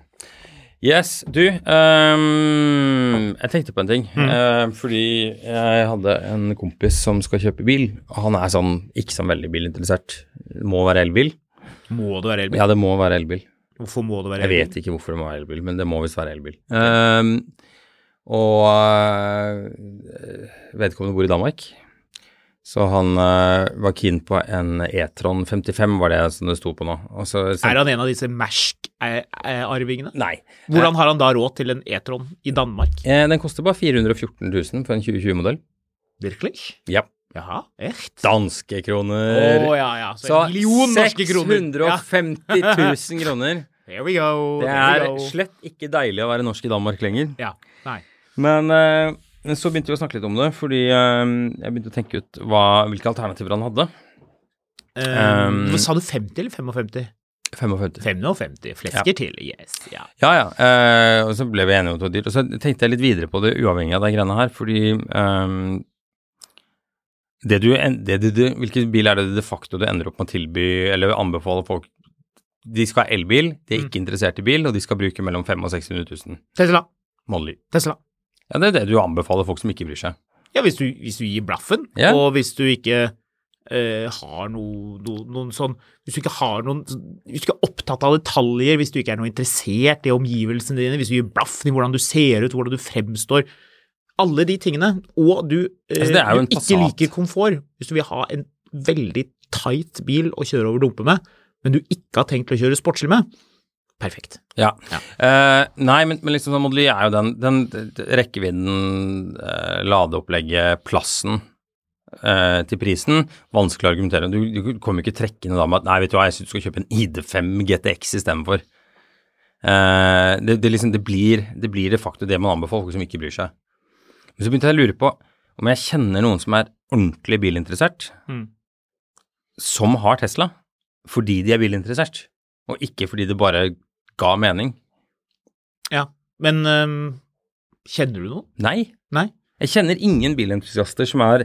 S3: Yes, du ehm, Jeg tenkte på en ting. eh, fordi jeg hadde en kompis som skal kjøpe bil. Og han er sånn ikke sånn veldig bilinteressert. Må være elbil.
S2: Må det være elbil?
S3: Ja, det må være elbil.
S2: Hvorfor må det være
S3: Jeg
S2: elbil?
S3: vet ikke hvorfor det må være elbil, men det må visst være elbil. Ehm, og eh, vedkommende bor i Danmark, så han eh, var keen på en E-tron 55, var det som det sto på nå. Og så,
S2: Er han en av disse Mersk-arvingene?
S3: Nei.
S2: Hvordan har han da råd til en E-tron i Danmark?
S3: Eh, den koster bare 414 000 for en 2020-modell.
S2: Virkelig?
S3: Ja.
S2: Jaha, echt?
S3: Danske
S2: Å
S3: kroner.
S2: ja, ja. Så, en million norske kroner. Ja,
S3: 650 000
S2: [laughs]
S3: kroner.
S2: here we go.
S3: Det
S2: here
S3: er
S2: we go.
S3: slett ikke deilig å være norsk i Danmark lenger.
S2: Ja, nei.
S3: Men eh, men så begynte vi å snakke litt om det, fordi eh, jeg begynte å tenke ut hva, hvilke alternativer han hadde.
S2: Ehm,
S3: Um,
S2: sa du 50 eller 55?
S3: 55.
S2: 55. Flesker til, yes. Ja.
S3: Ja, ja. eh, og så ble vi enige om at det var dyrt. Og så tenkte jeg litt videre på det, uavhengig av de greiene her, fordi eh, det du, en- det du, du- Hvilken bil er det du de facto du ender opp med å tilby, eller anbefale folk De skal ha elbil, de er ikke interessert i bil, og de skal bruke mellom 500 000 og 600 000.
S2: Tesla.
S3: Molly.
S2: Tesla.
S3: Ja, det er det du anbefaler folk som ikke bryr seg.
S2: Ja, hvis du, hvis du gir blaffen,
S3: Ja.
S2: og hvis du ikke eh, har noe, noe, noen sånn Hvis du ikke har noen Hvis du ikke er opptatt av detaljer, hvis du ikke er noe interessert i omgivelsene dine, hvis du gir blaffen i hvordan du ser ut, hvordan du fremstår Alle de tingene. Og du, eh,
S3: Altså, det er jo en
S2: du ikke
S3: Passat.
S2: liker komfort. Hvis du vil ha en veldig tight bil å kjøre over dumpe med, men du ikke har tenkt å kjøre sportslig med, perfekt.
S3: Ja.
S2: Ja.
S3: Eh, nei, men, men liksom sånn Model Y er jo den, den d- d- rekkevidden, eh, ladeopplegget, plassen eh, til prisen. Vanskelig å argumentere. Du, du kommer ikke trekkende da med at nei, vet du hva, jeg syns du skal kjøpe en ID5 GTX istedenfor. Uh, det, det, liksom, det, blir, det blir de facto det man anbefaler folk som ikke bryr seg. Men så begynte jeg å lure på om jeg kjenner noen som er ordentlig bilinteressert,
S2: Mm.
S3: som har Tesla, fordi de er bilinteressert, og ikke fordi det bare ga mening.
S2: Ja. Men ehm, kjenner du noen?
S3: Nei.
S2: Nei?
S3: Jeg kjenner ingen bilentusiaster som er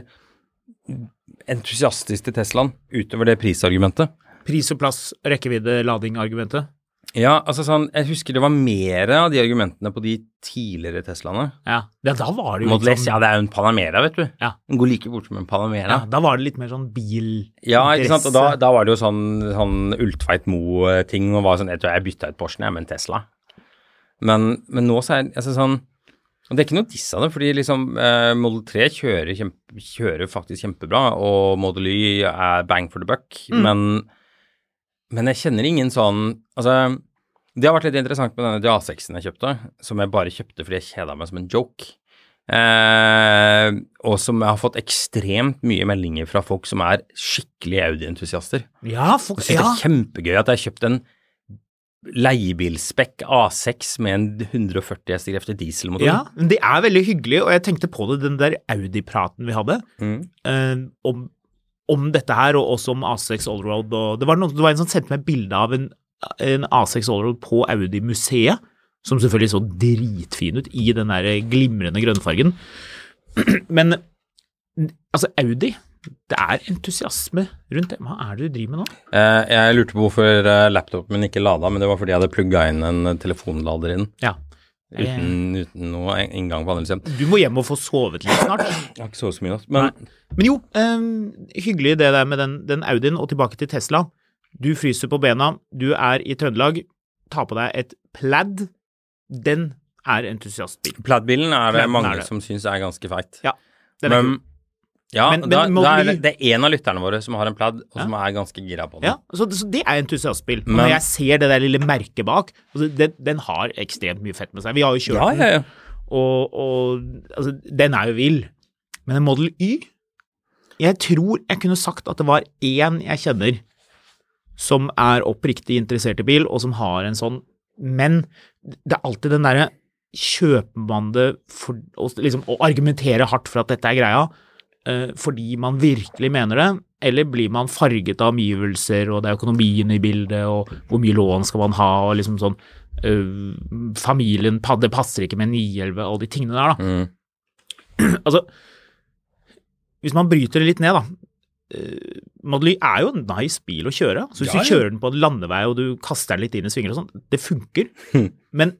S3: entusiastisk til Teslaen utover det prisargumentet.
S2: Pris og plass, rekkevidde, lading-argumentet?
S3: Ja, altså sånn, jeg husker det var mer av de argumentene på de tidligere Teslaene.
S2: Ja, ja da var det jo
S3: Model
S2: litt
S3: S,
S2: sånn,
S3: ja, det er jo en Panamera, vet du.
S2: Ja.
S3: Den går like fort som en Panamera.
S2: ja, da var det litt mer sånn bil...
S3: Ja, ikke sant? Og da,
S2: interesse.
S3: da var det jo sånn, sånn Ultveit Moe-ting og var sånn Jeg tror jeg bytta ut Porschen, jeg, med en Tesla. Men, men nå så er altså sånn og Det er ikke noe diss av det, fordi liksom eh, Model 3 kjører, kjempe, kjører faktisk kjempebra, og Model Y er bang for the buck, men, men jeg kjenner ingen sånn Altså, det har vært litt interessant med denne DA6-en jeg kjøpte, som jeg bare kjøpte fordi jeg kjeda meg som en joke. Eh, og som jeg har fått ekstremt mye meldinger fra folk som er skikkelig Audi-entusiaster.
S2: Ja, folk,
S3: Og synes
S2: ja.
S3: det er kjempegøy at jeg har kjøpt en leiebilspekk A6 med en 140 hestekrefter dieselmotor.
S2: Ja, men det er veldig hyggelig, og jeg tenkte på det, den der Audi-praten vi hadde
S3: Mm.
S2: eh, om, om dette her, og også om A6 Allroad. Og det, var noen, det var en som sendte meg bilde av en, en A6 Allroad på Audi-museet, som selvfølgelig så dritfin ut i den der glimrende grønnfargen. [clears throat] Men altså, Audi det er entusiasme rundt det. Hva er det du driver med nå?
S3: Eh, jeg lurte på hvorfor eh, laptopen min ikke lada, men det var fordi jeg hadde plugga inn en eh, telefonlader i den.
S2: Ja. Eh,
S3: Uten, uten noe en- inngang på andre siden.
S2: Du må hjem og få sovet litt snart.
S3: Jeg har ikke sovet så mye i natt. Men
S2: Men jo, ehm, hyggelig det der med den, den Audien, og tilbake til Tesla. Du fryser på bena, du er i Trøndelag, ta på deg et pladd. Den er entusiastbil.
S3: Plaid-bilen er det
S2: Plaid-bilen
S3: mange
S2: er det.
S3: som syns er ganske feit.
S2: Ja, den er
S3: men,
S2: kul.
S3: ja,
S2: Men- men
S3: da,
S2: Model
S3: da
S2: Y-
S3: er det, det er en av lytterne våre som har en plaid, og som er ganske gira på den.
S2: Ja, så, så det er entusiastbil. Og
S3: Men-
S2: når jeg ser det der lille merket bak, altså den, den har ekstremt mye fett med seg. Vi har jo kjørt
S3: Ja, ja, ja.
S2: den, og, og altså, den er jo vill. Men en Model Y Jeg tror jeg kunne sagt at det var én jeg kjenner som er oppriktig interessert i bil, og som har en sånn Men det er alltid den derre kjøpmandet for å liksom, å argumentere hardt for at dette er greia, eh, fordi man virkelig mener det, eller blir man farget av omgivelser, og det er økonomien i bildet, og hvor mye lån skal man ha, og liksom sånn eh, Familien pa- Det passer ikke med en 911, alle de tingene der, da.
S3: Mm.
S2: Altså, hvis man bryter det litt ned, da. eh, Model Y er jo en nice bil å kjøre. Så hvis
S3: Ja,
S2: du
S3: ja.
S2: kjører den på en landevei og du kaster den litt inn i svinger og sånn, det
S3: [laughs]
S2: funker. Men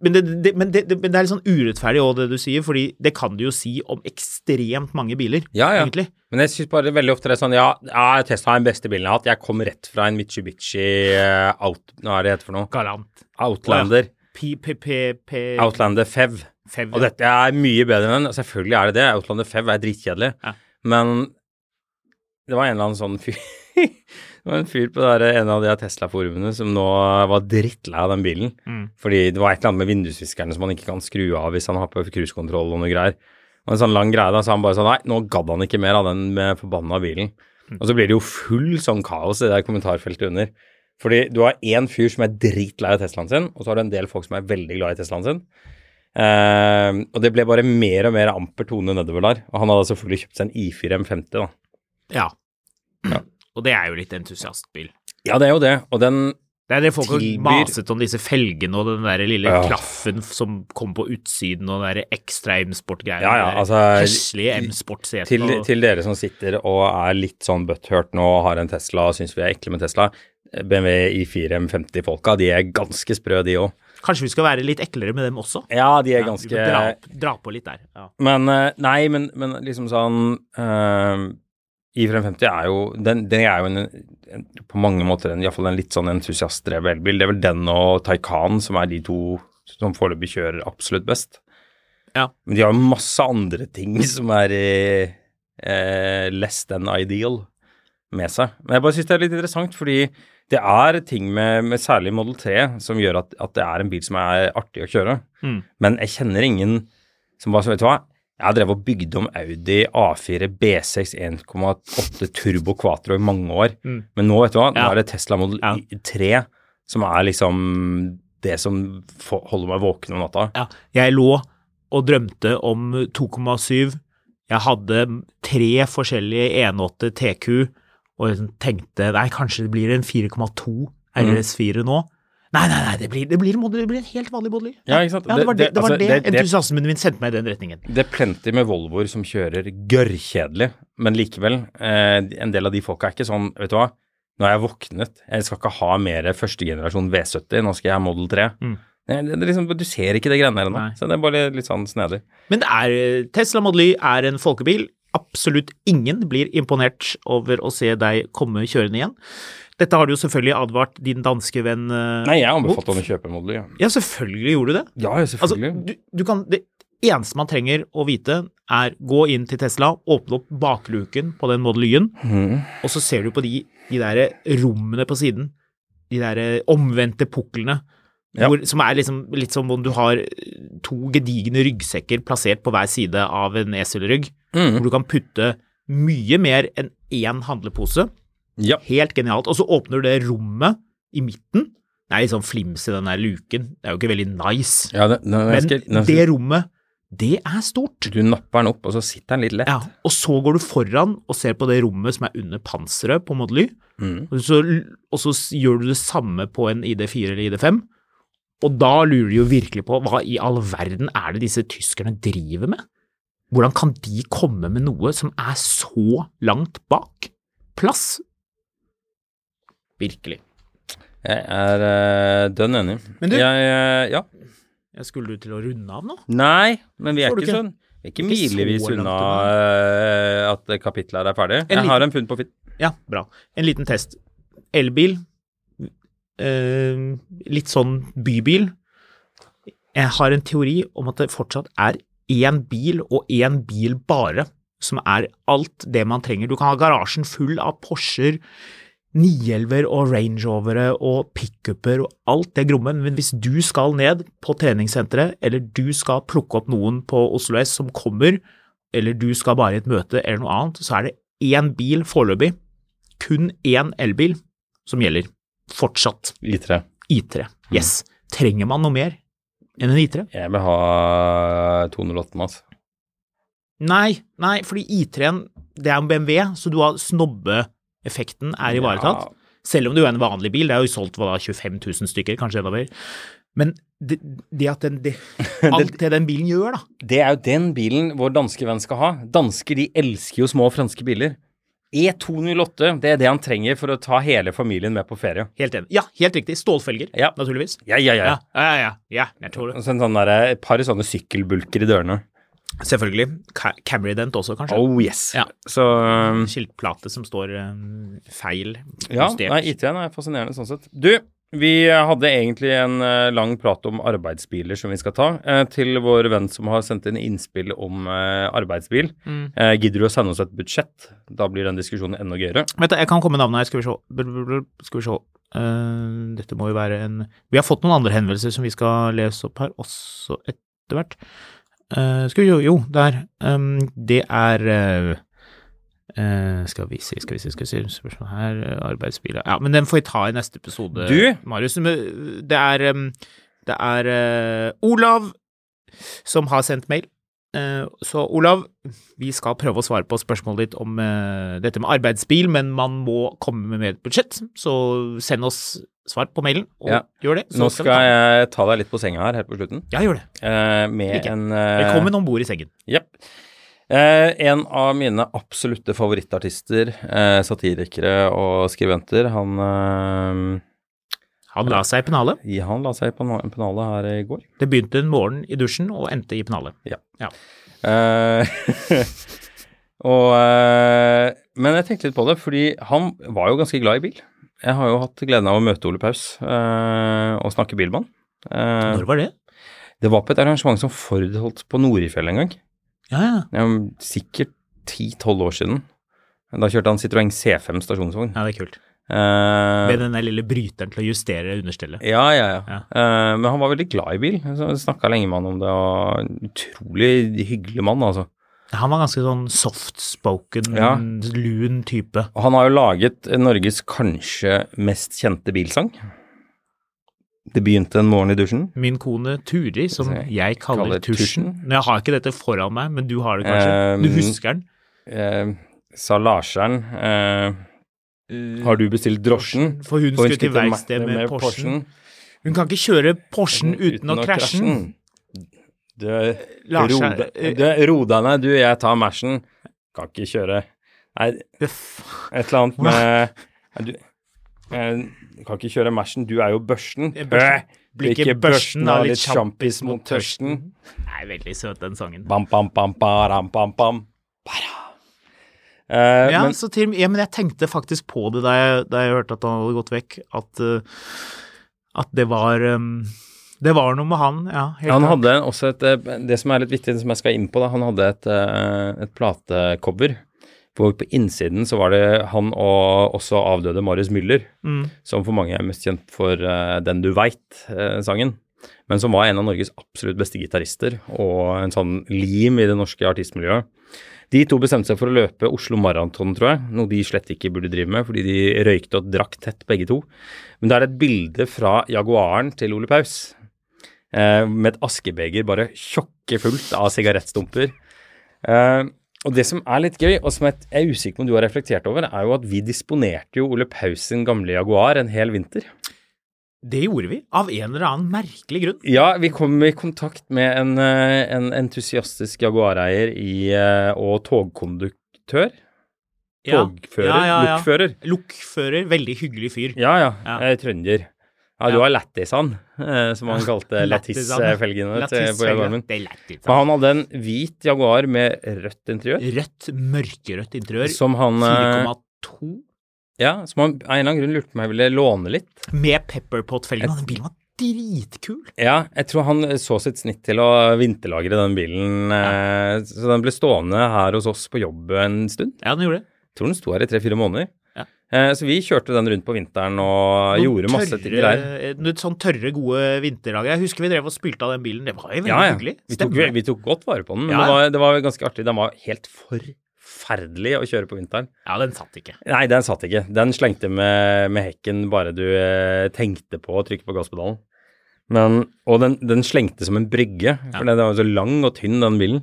S2: men det, det, men, det, det, men det er litt sånn urettferdig òg, det du sier, fordi det kan du jo si om ekstremt mange biler,
S3: Ja, ja.
S2: egentlig.
S3: Men jeg syns bare veldig ofte det er sånn Ja, ja Tesla er den beste bilen jeg har hatt. Jeg kom rett fra en Mitsubishi eh, out... Hva er det heter for noe?
S2: Galant.
S3: Outlander.
S2: P, P, P, P,
S3: Outlander Fev.
S2: Fev,
S3: Og dette er mye bedre enn den. Selvfølgelig er det det. Outlander 5 er dritkjedelig.
S2: Ja.
S3: Men det var en eller annen sånn fyr [laughs] Det var en fyr på det der- en av de her Tesla-forumene som nå var drittlei av den bilen.
S2: Mm.
S3: Fordi det var et eller annet med vindusviskerne som han ikke kan skru av hvis han har på cruisekontroll og noe greier. Og en sånn lang greie da, så han bare sånn Nei, nå gadd han ikke mer av den med forbanna bilen. Og så blir det jo full sånn kaos i det der kommentarfeltet under. Fordi du har én fyr som er dritlei av Teslaen sin, og så har du en del folk som er veldig glad i Teslaen sin. Eh, og det ble bare mer og mer amper tone nedover der. Og han hadde selvfølgelig kjøpt seg en I4 M50, da.
S2: Ja. Og det er jo litt entusiastbil.
S3: Ja, det er jo det. Og den
S2: Det er det folk har
S3: Tilbyr-
S2: maset om disse felgene og den der lille
S3: Ja.
S2: klaffen som kom på utsiden og den der ekstra M-sport-greiene.
S3: Ja, ja,
S2: den der
S3: altså,
S2: Heslige M-sport-seten.
S3: til,
S2: og-
S3: til dere som sitter og er litt sånn butthurt nå og har en Tesla og syns vi er ekle med Tesla, eh, BMW I4 M50-folka, de er ganske sprø, de òg.
S2: Kanskje vi skal være litt eklere med dem også?
S3: Ja, de er
S2: Vi
S3: ganske
S2: må dra, opp- dra på litt der. Ja.
S3: Men eh, nei, men, men liksom sånn eh, I4 M50 er jo Den, den er jo en, en, på mange måter en, i hvert fall en litt sånn entusiastdrevet elbil. Det er vel den og Taycan som er de to som foreløpig kjører absolutt best.
S2: Ja.
S3: Men de har jo masse andre ting [laughs] som er eh, eh, less than ideal med seg. Men jeg bare syns det er litt interessant, fordi det er ting med, med særlig Model 3 som gjør at, at det er en bil som er artig å kjøre.
S2: Mm.
S3: Men jeg kjenner ingen som bare så, vet du hva, jeg drev og bygde om Audi A4 B6 1,8 Turbo Quatro i mange år,
S2: Mm.
S3: men nå, vet du hva, nå
S2: Ja.
S3: er det Tesla Model
S2: Ja.
S3: Y- 3 som er liksom det som få- holder meg våken om natta.
S2: Ja, jeg lå og drømte om 2,7. Jeg hadde tre forskjellige E 1,8 TQ og liksom tenkte nei, kanskje det blir en 4,2
S3: Mm.
S2: RS4 nå. Nei, nei, nei, det blir, det blir, en modell- det blir en helt vanlig modell.
S3: Ja, ikke sant?
S2: Ja, det var det, det, var
S3: altså,
S2: det,
S3: det- det-
S2: entusiasmen min sendte meg i den retningen.
S3: Det er plenty med Volvoer som kjører gørrkjedelig, men likevel, eh, en del av de folka er ikke sånn, vet du hva, Nå er jeg våknet. Jeg skal ikke ha mer førstegenerasjon V70. Nå skal jeg ha Model 3. Nei, Det, det er liksom, du ser ikke det greiene her
S2: Mm.
S3: ennå.
S2: Nei.
S3: Så det er bare litt sånn snedig.
S2: Men det er, eh, Tesla Model Y er en folkebil. Absolutt ingen blir imponert over å se deg komme kjørende igjen. Dette har du jo selvfølgelig advart din danske venn eh,
S3: Nei, jeg
S2: mot.
S3: anbefalte han å kjøpe Model Y. ja.
S2: Ja, selvfølgelig gjorde du det.
S3: Ja,
S2: Altså,
S3: selvfølgelig.
S2: du, du kan, det eneste man trenger å vite, er gå inn til Tesla, åpne opp bakluken på den Model Y-en,
S3: Altså, mm.
S2: og så ser du på de, de der rommene på siden. De der eh, omvendte puklene.
S3: Ja.
S2: Hvor, som er liksom, litt som om du har eh, to gedigne ryggsekker plassert på hver side av en eselrygg,
S3: Mhm.
S2: hvor du kan putte mye mer enn én handlepose.
S3: Ja.
S2: Helt genialt. Og så åpner du det rommet i midten. Det er litt sånn flims i den der luken. Det er jo ikke veldig nice.
S3: ja det, nå, jeg
S2: Men
S3: skal, nå,
S2: det rommet, det er stort.
S3: Du napper den opp, og så sitter den litt lett.
S2: Ja, og så går du foran og ser på det rommet som er under panseret på Model Y,
S3: Mhm.
S2: og så, og så s- gjør du det samme på en ID4 eller ID5, og da lurer du jo virkelig på hva i all verden er det disse tyskerne driver med? Hvordan kan de komme med noe som er så langt bak plass? Virkelig.
S3: Jeg er eh, dønn enig.
S2: Men du-
S3: Jeg, eh, ja.
S2: Jeg skulle du til å runde av nå?
S3: Nei, men vi er
S2: Får du
S3: ikke,
S2: ikke?
S3: sånn. Vi er ikke
S2: Ikke så
S3: milevis
S2: langt
S3: unna eh, at kapitlet her er ferdig.
S2: En
S3: jeg har
S2: liten-
S3: en funn på fit.
S2: Ja, bra. En liten test. Elbil. Eh, litt sånn bybil. Jeg har en teori om at det fortsatt er én bil, og én bil bare, som er alt det man trenger. Du kan ha garasjen full av Porscher, 911 og Range Rovere og pickuper og alt det gromme, men hvis du skal ned på treningssenteret, eller du skal plukke opp noen på Oslo S som kommer, eller du skal bare i et møte eller noe annet, så er det én bil foreløpig, kun én elbil, som gjelder. Fortsatt
S3: I3.
S2: I3.
S3: Mm.
S2: Yes. Trenger man noe mer enn en I3?
S3: Jeg vil ha 208-en, altså.
S2: Nei, nei, fordi I3-en, det er en BMW, så du har snobbeeffekten er ivaretatt.
S3: Ja.
S2: Selv om det jo er en vanlig bil, det er jo solgt hva da, 25 000 stykker, kanskje enda mer. Men det, det at
S3: [laughs]
S2: den, det, alt det den bilen gjør, da.
S3: Det er jo den bilen vår danske venn skal ha. Dansker de elsker jo små franske biler. E E208, det er det han trenger for å ta hele familien med på ferie.
S2: Helt enig. Ja, helt riktig. Stålfelger,
S3: Ja.
S2: naturligvis.
S3: Ja, ja, ja.
S2: Ja, ja, ja. ja jeg tror
S3: Og
S2: det.
S3: så en sånn der, et par sånne sykkelbulker i dørene.
S2: Selvfølgelig. Ca Camry Dent også, kanskje.
S3: Oh yes.
S2: Ja.
S3: Så um,
S2: Skiltplate som står eh, feil.
S3: Ja,
S2: justert.
S3: nei, IT-en er fascinerende sånn sett. Du, vi hadde egentlig en eh, lang prat om arbeidsbiler som vi skal ta. eh, til vår venn som har sendt inn innspill om eh, arbeidsbil.
S2: Mm.
S3: Eh, gidder du å sende oss et budsjett? Da blir den diskusjonen enda gøyere.
S2: Vent, da, jeg kan komme med navnet her. Skal vi se. Bl- bl- bl- Skal vi se. Eh, dette må jo være en Vi har fått noen andre henvendelser som vi skal lese opp her også etter hvert. Eh, skal vi jo, jo, der. Um, det er eh, eh, skal vi se, skal vi se, skal vi se Spørsmål her eh, Arbeidsbiler Ja, men den får vi ta i neste episode,
S3: Du?
S2: Marius. Men eh, Det er, em, det er eh, Olav som har sendt mail. Eh, Så Olav, vi skal prøve å svare på spørsmålet ditt om eh, dette med arbeidsbil, men man må komme med et budsjett. Så send oss svar på mailen, og
S3: Ja.
S2: gjør det. så
S3: Nå
S2: vi ta
S3: skal
S2: den.
S3: jeg ta deg litt på senga her helt på slutten.
S2: Ja, gjør det.
S3: eh, med
S2: Like.
S3: en eh,
S2: Velkommen om bord i sengen.
S3: Jepp. Eh, en av mine absolutte favorittartister, eh, satirikere og skribenter, han eh,
S2: Han la seg i pennalet.
S3: i- Han la seg på pennalet her i går.
S2: Det begynte en morgen i dusjen og endte i pennalet.
S3: Eh, [laughs] og, eh, men jeg tenkte litt på det, fordi han var jo ganske glad i bil. Jeg har jo hatt gleden av å møte Ole Paus eh, og snakke bil med han. Eh,
S2: Når var det?
S3: det var på et arrangement som Ford holdt på Norefjell en gang.
S2: Ja, ja.
S3: Det er jo sikkert 10-12 år siden. Da kjørte han Citroën C5 stasjonsvogn.
S2: Ja, det er kult.
S3: Eh,
S2: Med den der lille bryteren til å justere understellet.
S3: Ja, ja, ja.
S2: Ja.
S3: Eh, men han var veldig glad i bil. Snakka lenge med han om det, og en utrolig hyggelig mann, altså.
S2: Han var ganske sånn softspoken,
S3: Ja.
S2: lun type.
S3: Og han har jo laget Norges kanskje mest kjente bilsang. Det begynte en morgen i dusjen.
S2: Min kone Turi, som
S3: Jeg
S2: jeg kaller,
S3: kaller
S2: Tusjen. Ehm,
S3: Tusjen.
S2: Men Jeg har ikke dette foran meg, men du har det kanskje?
S3: Um,
S2: du husker den?
S3: Eh, sa Larseren eh, Har du bestilt drosjen?
S2: For hun
S3: Og
S2: skulle til
S3: meg-
S2: verksted med, Porschen. Hun kan ikke kjøre Porschen uten, å krasje den.
S3: Du,
S2: Larseren,
S3: roda-
S2: eh,
S3: du, ro deg ned, du, jeg tar Mersen. Kan ikke kjøre Nei,
S2: Det f-
S3: et eller annet med Nei, du, eh, Kan ikke kjøre Mersen, du er jo børsten.
S2: er Eh, børsten.
S3: Øh,
S2: Blir ikke børsten av litt sjampis mot
S3: tørsten.
S2: Nei, veldig søt, den sangen.
S3: Bam, bam, bam, baram, bam, bam. Bara. Eh,
S2: Ja,
S3: men,
S2: så til, ja, men jeg tenkte faktisk på det da jeg, da jeg hørte at han hadde gått vekk, at, eh, at det var um, Det var noe med han, ja. helt
S3: han
S2: klart.
S3: hadde også et eh, Det som er litt vittig, det som jeg skal inn på, da, han hadde et, eh, et platecover. Hvor på innsiden så var det han og også avdøde Marius Müller,
S2: mm.
S3: som for mange er mest kjent for eh, Den du veit-sangen. men som var en av Norges absolutt beste gitarister og en sånn lim i det norske artistmiljøet. De to bestemte seg for å løpe Oslo Maraton, tror jeg, noe de slett ikke burde drive med, fordi de røykte og drakk tett begge to. Men det er et bilde fra Jaguaren til Ole Paus, eh, med et askebeger bare tjokke fullt av sigarettstumper. Eh, og det som er litt gøy, og som jeg jeg er usikker på om du har reflektert over, er jo at vi disponerte jo Ole Paus sin gamle Jaguar en hel vinter.
S2: Det gjorde vi, av en eller annen merkelig grunn.
S3: Ja, vi kom i kontakt med en, eh, en entusiastisk Jaguar-eier i, eh, og togkonduktør.
S2: Ja.
S3: Togfører.
S2: Ja, ja, ja.
S3: Lokfører.
S2: Lokfører, veldig hyggelig fyr.
S3: Ja, ja.
S2: Ja.
S3: Eh, trønder. Ja, du
S2: Ja.
S3: har Lættisan, eh, som han
S2: [laughs]
S3: kalte eh,
S2: Lættisan.
S3: Lættis-felgene til- på
S2: Lattis-felge.
S3: Jaguaren min.
S2: Det er lættis,
S3: Men
S2: da.
S3: han hadde en hvit Jaguar med rødt interiør,
S2: Rødt, mørkerødt interiør.
S3: som han, eh,
S2: 4,2.
S3: ja, som han av en eller annen grunn lurte på om jeg ville låne litt.
S2: Med pepperpot-felgen. Den bilen var dritkul.
S3: Ja, jeg tror han så sitt snitt til å vinterlagre den bilen, eh, så den ble stående her hos oss på jobb en stund.
S2: Ja, den gjorde det.
S3: Jeg tror den sto her i tre-fire måneder.
S2: Ja.
S3: Eh, Så vi kjørte den rundt på vinteren og gjorde masse ting der.
S2: Noen sånn tørre, gode vinterdager. Jeg husker vi drev og spilte av den bilen. Det var jo veldig
S3: Ja, ja.
S2: hyggelig.
S3: Vi tok,
S2: Stemmer det?
S3: vi tok godt vare på den, men
S2: Ja,
S3: det,
S2: ja.
S3: var, det var ganske artig. Den var helt forferdelig å kjøre på vinteren.
S2: Ja, den satt ikke.
S3: Nei, den satt ikke. Den slengte med, med hekken bare du eh, tenkte på å trykke på gasspedalen. Men, og den, den slengte som en brygge, for den var jo så lang og tynn, den bilen.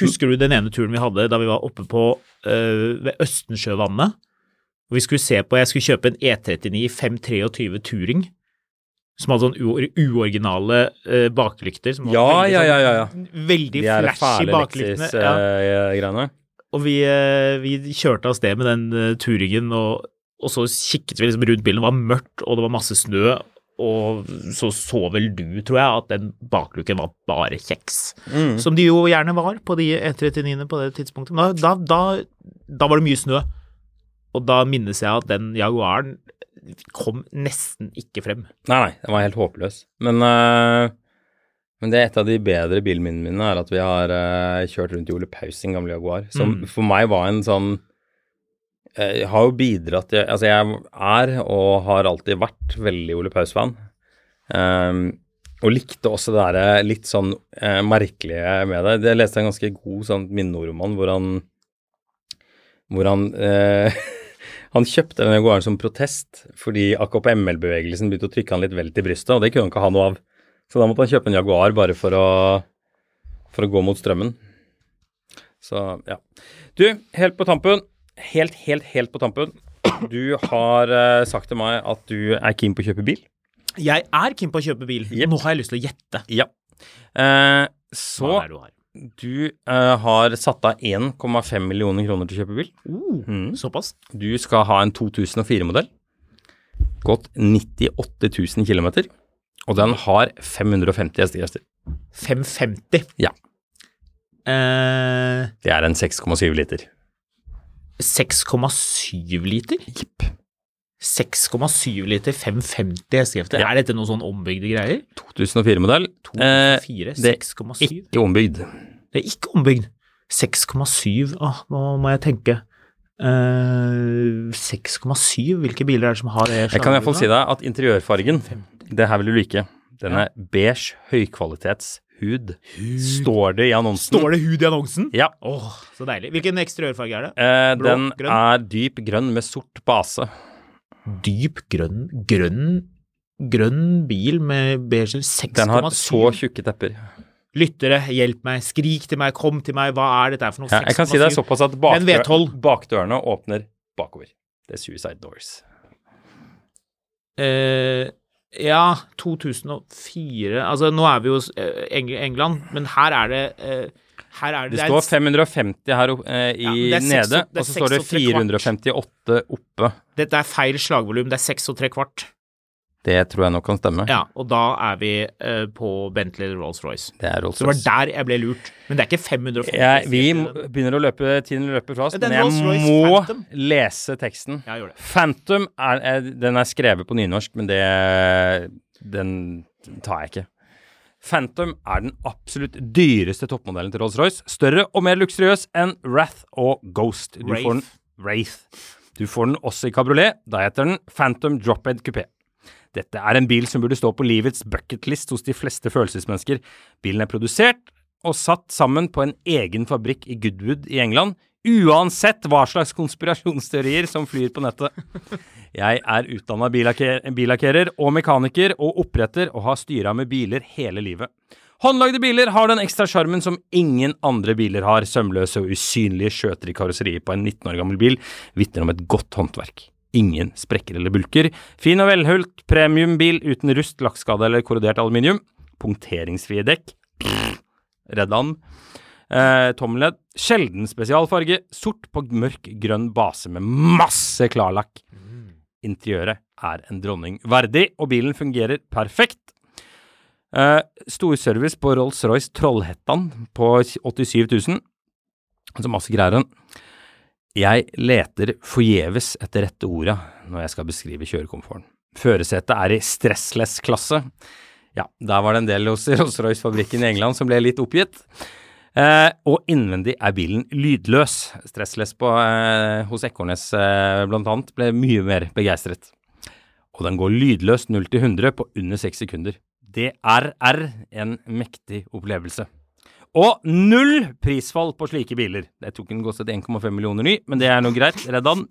S2: Husker du den ene turen vi hadde da vi var oppe på øh, ved Østensjøvannet? Og vi skulle se på, Jeg skulle kjøpe en E39 523 Turing, som hadde sånn uor- uoriginale øh, baklykter. Som var
S3: Ja,
S2: veldig
S3: ja,
S2: sånn-
S3: ja, ja, ja.
S2: Veldig
S3: De er eh,
S2: flashy
S3: fæle
S2: baklyktene. Ja.
S3: Lexis-greiene.
S2: Og vi, øh, vi kjørte av sted med den øh, Turingen, og, og så kikket vi liksom rundt bilen. Det var mørkt, og det var masse snø. Og så så vel du, tror jeg, at den bakluken var bare kjeks.
S3: Mm.
S2: Som de jo gjerne var på de E39-ene på det tidspunktet. Men da, da, da, da var det mye snø. Og da minnes jeg at den Jaguaren kom nesten ikke frem.
S3: Nei, nei, den var helt håpløs. Men, eh, men det er et av de bedre bilminnene mine, er at vi har eh, kjørt rundt i Ole Paus sin gamle Jaguar, som
S2: Mm.
S3: for meg var en sånn eh, Jeg har jo bidratt til Altså, jeg er og har alltid vært veldig Ole Paus-fan. Ehm, og likte også det derre litt sånn eh, merkelige med det. Jeg leste en ganske god sånn minneroman hvor han hvor han eh, Han kjøpte denne Jaguaren som protest fordi AKP-ML-bevegelsen begynte å trykke han litt vel til brystet, og det kunne han ikke ha noe av. Så da måtte han kjøpe en Jaguar bare for å, for å gå mot strømmen. Så, ja. Du, helt på tampen. Helt, helt, helt på tampen. Du har eh, sagt til meg at du er keen på å kjøpe bil.
S2: Jeg er keen på å kjøpe bil.
S3: Jepp.
S2: Nå har jeg lyst til å gjette.
S3: Ja. Eh,
S2: Hva
S3: så
S2: det er du har.
S3: du eh, har satt av 1,5 millioner kroner til å kjøpe bil.
S2: Oh,
S3: Mm.
S2: Såpass.
S3: Du skal ha en 2004-modell. Gått 98 000 km. Og den har 550 hestekrefter.
S2: 550.
S3: Ja.
S2: Eh,
S3: Det er en 6,7 liter.
S2: 6,7 liter?
S3: Jipp.
S2: 6,7 liter, 550 hestekrefter.
S3: Ja.
S2: Er dette noen sånn ombygde greier?
S3: 2004-modell. Eh,
S2: 2004,
S3: det-
S2: 6,7?
S3: ikke ombygd.
S2: Det er ikke ombygd. 6,7 Åh, Nå må jeg tenke. Eh, 6,7 Hvilke biler er det som har det?
S3: Jeg kan iallfall si deg at interiørfargen, det her vil du like. Den er beige høykvalitetshud. Står det i annonsen.
S2: Står det hud i annonsen?
S3: Ja.
S2: Åh, så deilig. Hvilken eksteriørfarge er det?
S3: Eh,
S2: Blå,
S3: den
S2: grønn?
S3: er dyp grønn med sort base.
S2: Dyp grønn Grønn Grønn bil med beige
S3: Den har så
S2: 6,7
S3: tjukke tepper.
S2: Lyttere, hjelp meg. Skrik til meg, kom til meg. Hva er dette her for noe?
S3: Ja, jeg kan si det altså. er
S2: 6,7.
S3: såpass at
S2: Men
S3: bakdør,
S2: V12.
S3: bakdørene åpner bakover. Det er suicide doors.
S2: Eh, ja, 2004 Altså, nå er vi jo i England, men her er det eh, Her er det,
S3: Det
S2: er-
S3: står 550 her o- eh, i
S2: Ja, men det er seks og-
S3: nede,
S2: det er
S3: og så står det
S2: seks og tre kvart.
S3: 458 oppe.
S2: Dette er feil slagvolum. Det er seks og tre kvart.
S3: Det tror jeg nok kan stemme.
S2: Ja, og da er vi eh, på Bentley eller Rolls-Royce.
S3: Det er Rolls
S2: Så det var der
S3: Royce.
S2: jeg ble lurt. Men det er ikke 550.
S3: Jeg, vi må- begynner å løpe tiden løper fra oss,
S2: Ja,
S3: men
S2: den
S3: jeg
S2: Rolls-Royce
S3: må
S2: Phantom.
S3: lese teksten.
S2: Ja, gjør det.
S3: Phantom er, er, den er skrevet på nynorsk, men det Den tar jeg ikke. Phantom er den absolutt dyreste toppmodellen til Rolls-Royce. Større og mer luksuriøs enn Wrath og Ghost. Du
S2: Wraith.
S3: får den Wraith. Du får den også i kabriolet. Da heter den Phantom Drophead Coupé. Dette er en bil som burde stå på livets bucketlist hos de fleste følelsesmennesker. Bilen er produsert og satt sammen på en egen fabrikk i Goodwood i England, uansett hva slags konspirasjonsteorier som flyr på nettet. Jeg er utdanna billakkerer og mekaniker og oppretter og har styra med biler hele livet. Håndlagde biler har den ekstra sjarmen som ingen andre biler har. Sømløse og usynlige skjøter i karosseriet på en 19 år gammel bil vitner om et godt håndverk. Ingen sprekker eller bulker. Fin og velhulgt premiumbil uten rust, lakkskade eller korrodert aluminium. Punkteringsfrie dekk. Redd han. Eh, Tomled. Sjelden spesialfarge. Sort på mørk grønn base med masse klarlakk. Interiøret er en dronning verdig, og bilen fungerer perfekt. Eh, Storservice på Rolls-Royce Trollhettan på 87 000. Altså masse greier. hun. Jeg leter forgjeves etter rette orda når jeg skal beskrive kjørekomforten. Førersetet er i stressless-klasse. Ja, der var det en del hos Rolls-Royce-fabrikken i England som ble litt oppgitt. Eh, og innvendig er bilen lydløs. Stressless på, eh, hos Ekornes eh, blant annet ble mye mer begeistret. Og den går lydløst 0 til 100 på under 6 sekunder. Det er, er en mektig opplevelse. Og null prisfall på slike biler. Det tok en kostet 1,5 millioner ny, men det er noe greit. Redd han.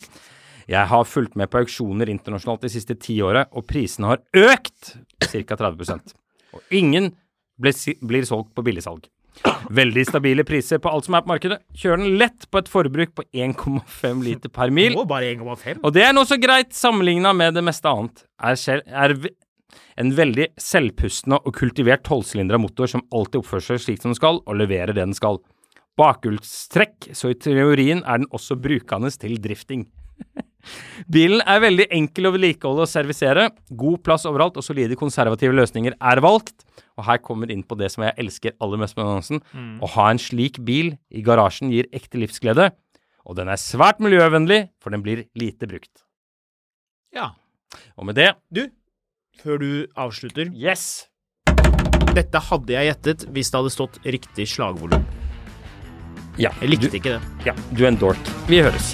S3: Jeg har fulgt med på auksjoner internasjonalt de siste ti åra, og prisene har økt ca. 30 Og ingen blir, si- blir solgt på billigsalg. Veldig stabile priser på alt som er på markedet. Kjør den lett på et forbruk på 1,5 liter per mil.
S2: Å, bare 1,5?
S3: Og det er nokså greit sammenligna med det meste annet. Er, selv, er ve- en veldig selvpustende og kultivert tolvsylindra motor som alltid oppfører seg slik som den skal, og leverer det den skal. Bakhjulstrekk, så i teorien er den også brukende til drifting. [laughs] Bilen er veldig enkel å vedlikeholde og servisere. God plass overalt, og solide konservative løsninger er valgt. Og her kommer inn på det som jeg elsker aller mest med annonsen. Å ha en slik bil i garasjen gir ekte livsglede. Og den er svært miljøvennlig, for den blir lite brukt.
S2: Ja.
S3: Og med det
S2: Du, før du avslutter
S3: Yes!
S2: Dette hadde jeg gjettet hvis det hadde stått riktig slagvolum.
S3: Ja,
S2: Jeg likte
S3: du,
S2: ikke det.
S3: ja, du er en dork. Vi høres.